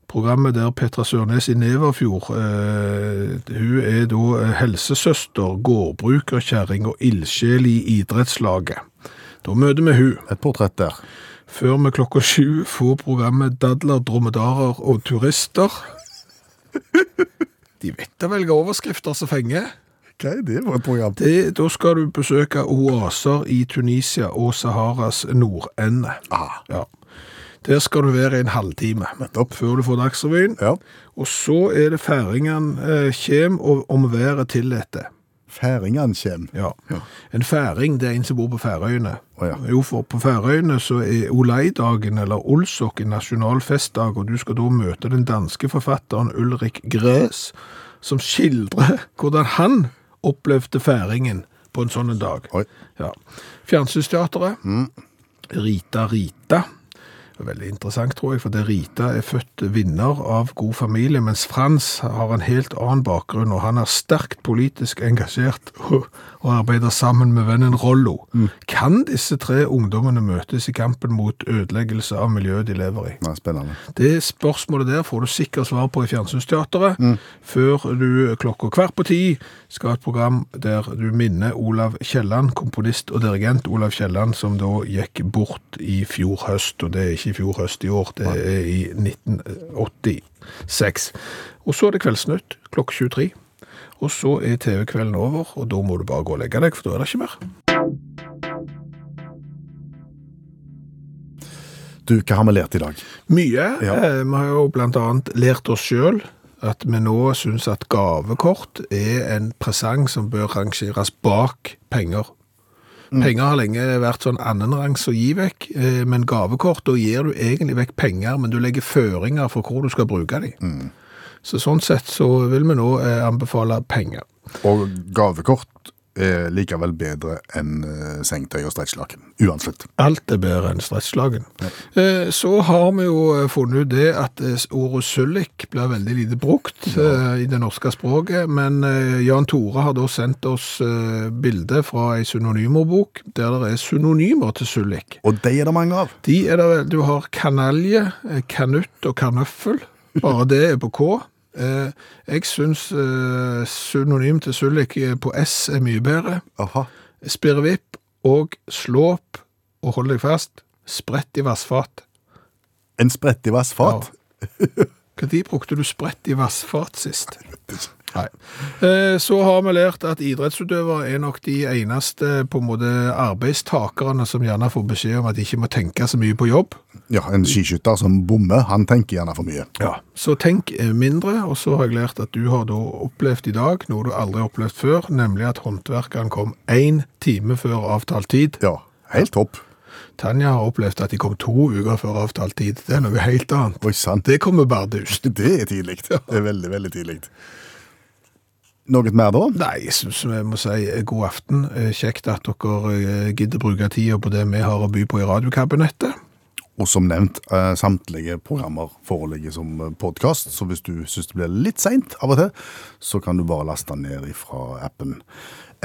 B: Programmet der Petra Sørnes i Neverfjord, eh, hun er da eh, helsesøster, gårdbruker, kjæring og ildsjel i idrettslaget. Da møter vi hun.
C: et portrett der.
B: Før vi klokka sju får programmet Dadler, dromedarer og turister. De vet å velge overskrifter som fenger.
C: Hva er det for et program?
B: Det, da skal du besøke oaser i Tunisia og Saharas nordende. Ja. Der skal du være i en halvtime før du får Dagsrevyen.
C: Ja.
B: Og så er det færingene eh, kjem og om været tillater.
C: Færingene kommer.
B: Ja. En færing, det er en som bor på Færøyene.
C: Å, ja.
B: Jo, for på Færøyene så er Oleidagen, eller Olsok, en nasjonal festdag, og du skal da møte den danske forfatteren Ulrik Græs, som skildrer hvordan han opplevde færingen på en sånn en dag.
C: Oi. Mm.
B: Ja. Fjernsynsteateret, Rita Rita, Veldig interessant, tror jeg, for det Rita er født vinner av god familie, mens Frans har en helt annen bakgrunn, og han er sterkt politisk engasjert og og arbeider sammen med vennen Rollo. Kan disse tre ungdommene møtes i kampen mot ødeleggelse av miljøet de lever i?
C: Nei, spennende.
B: Det spørsmålet der får du sikkert svar på i Fjernsynsteatret, før du klokka kvart på ti skal ha et program der du minner Olav Kielland, komponist og dirigent Olav Kielland, som da gikk bort i fjor høst, og det er ikke i fjor høst i år, det er i 1986. Og så er det Kveldsnytt klokka 23. Og så er TV-kvelden over, og da må du bare gå og legge deg, for da er det ikke mer.
C: Du, hva har vi lært i dag?
B: Mye.
C: Ja.
B: Eh, Vi har jo blant annet lært oss sjøl at vi nå syns at gavekort er en presang som bør rangeres bak penger. Penger har lenge vært sånn annenrangs å gi vekk, eh, men gavekort, da gir du egentlig vekk penger, men du legger føringer for hvor du skal bruke de. Så sånn sett så vil vi nå eh, anbefale penger.
C: Og gavekort er likevel bedre enn eh, sengetøy og stretchlaken. Uansett.
B: Alt er bedre enn stresslagen. Eh, Så har vi jo eh, funnet ut det at eh, ordet sullik blir veldig lite brukt eh, i det norske språket, men eh, Jan Tore har da sendt oss eh, bilde fra ei synonymerbok der det er synonymer til sullik.
C: Og de er det mange av.
B: De er der, du har kanalje, eh, kanutt og kanøffel. Bare det er på K. Eh, Jeg syns eh, synonym til sullik eh, på S er mye bedre.
C: Aha.
B: Spirrevipp og slå opp og hold deg fast. Sprett i vassfat.
C: En sprett i vassfat.
B: Når brukte du sprett i vassfat sist? Nei. Eh, Så har vi lært at idrettsutøvere er nok de eneste på en måte arbeidstakerne som gjerne får beskjed om at de ikke må tenke så mye på jobb.
C: Ja, en skiskytter som bommer, han tenker gjerne for mye.
B: Ja, Så tenk eh, mindre, og så har jeg lært at du har da opplevd i dag noe du aldri har opplevd før, nemlig at håndverkeren kom én time før avtalt tid.
C: Ja, helt topp.
B: Tanja har opplevd at de kom to uker før avtalt tid. Det er noe helt annet.
C: Oi, sant.
B: Det kommer bardust.
C: Det er tidlig. Det er veldig, veldig tidlig. Noe mer da?
B: Nei, jeg syns vi må si eh, god aften. Eh, Kjekt at dere eh, gidder bruke tida på det vi har å by på i radiokabinettet.
C: Og som nevnt, eh, samtlige programmer foreligger som podkast, så hvis du syns det blir litt seint av og til, så kan du bare laste den ned fra appen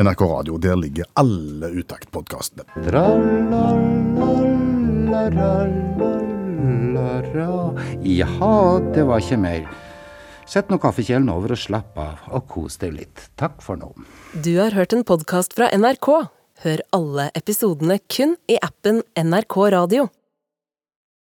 C: NRK Radio. Der ligger alle Utakt-podkastene.
J: Tra-la-la-la-la-la. Jaha, det var ikke mer. Sett nå kaffekjelen over og slapp av, og kos deg litt. Takk for nå.
A: Du har hørt en podkast fra NRK. Hør alle episodene kun i appen NRK Radio.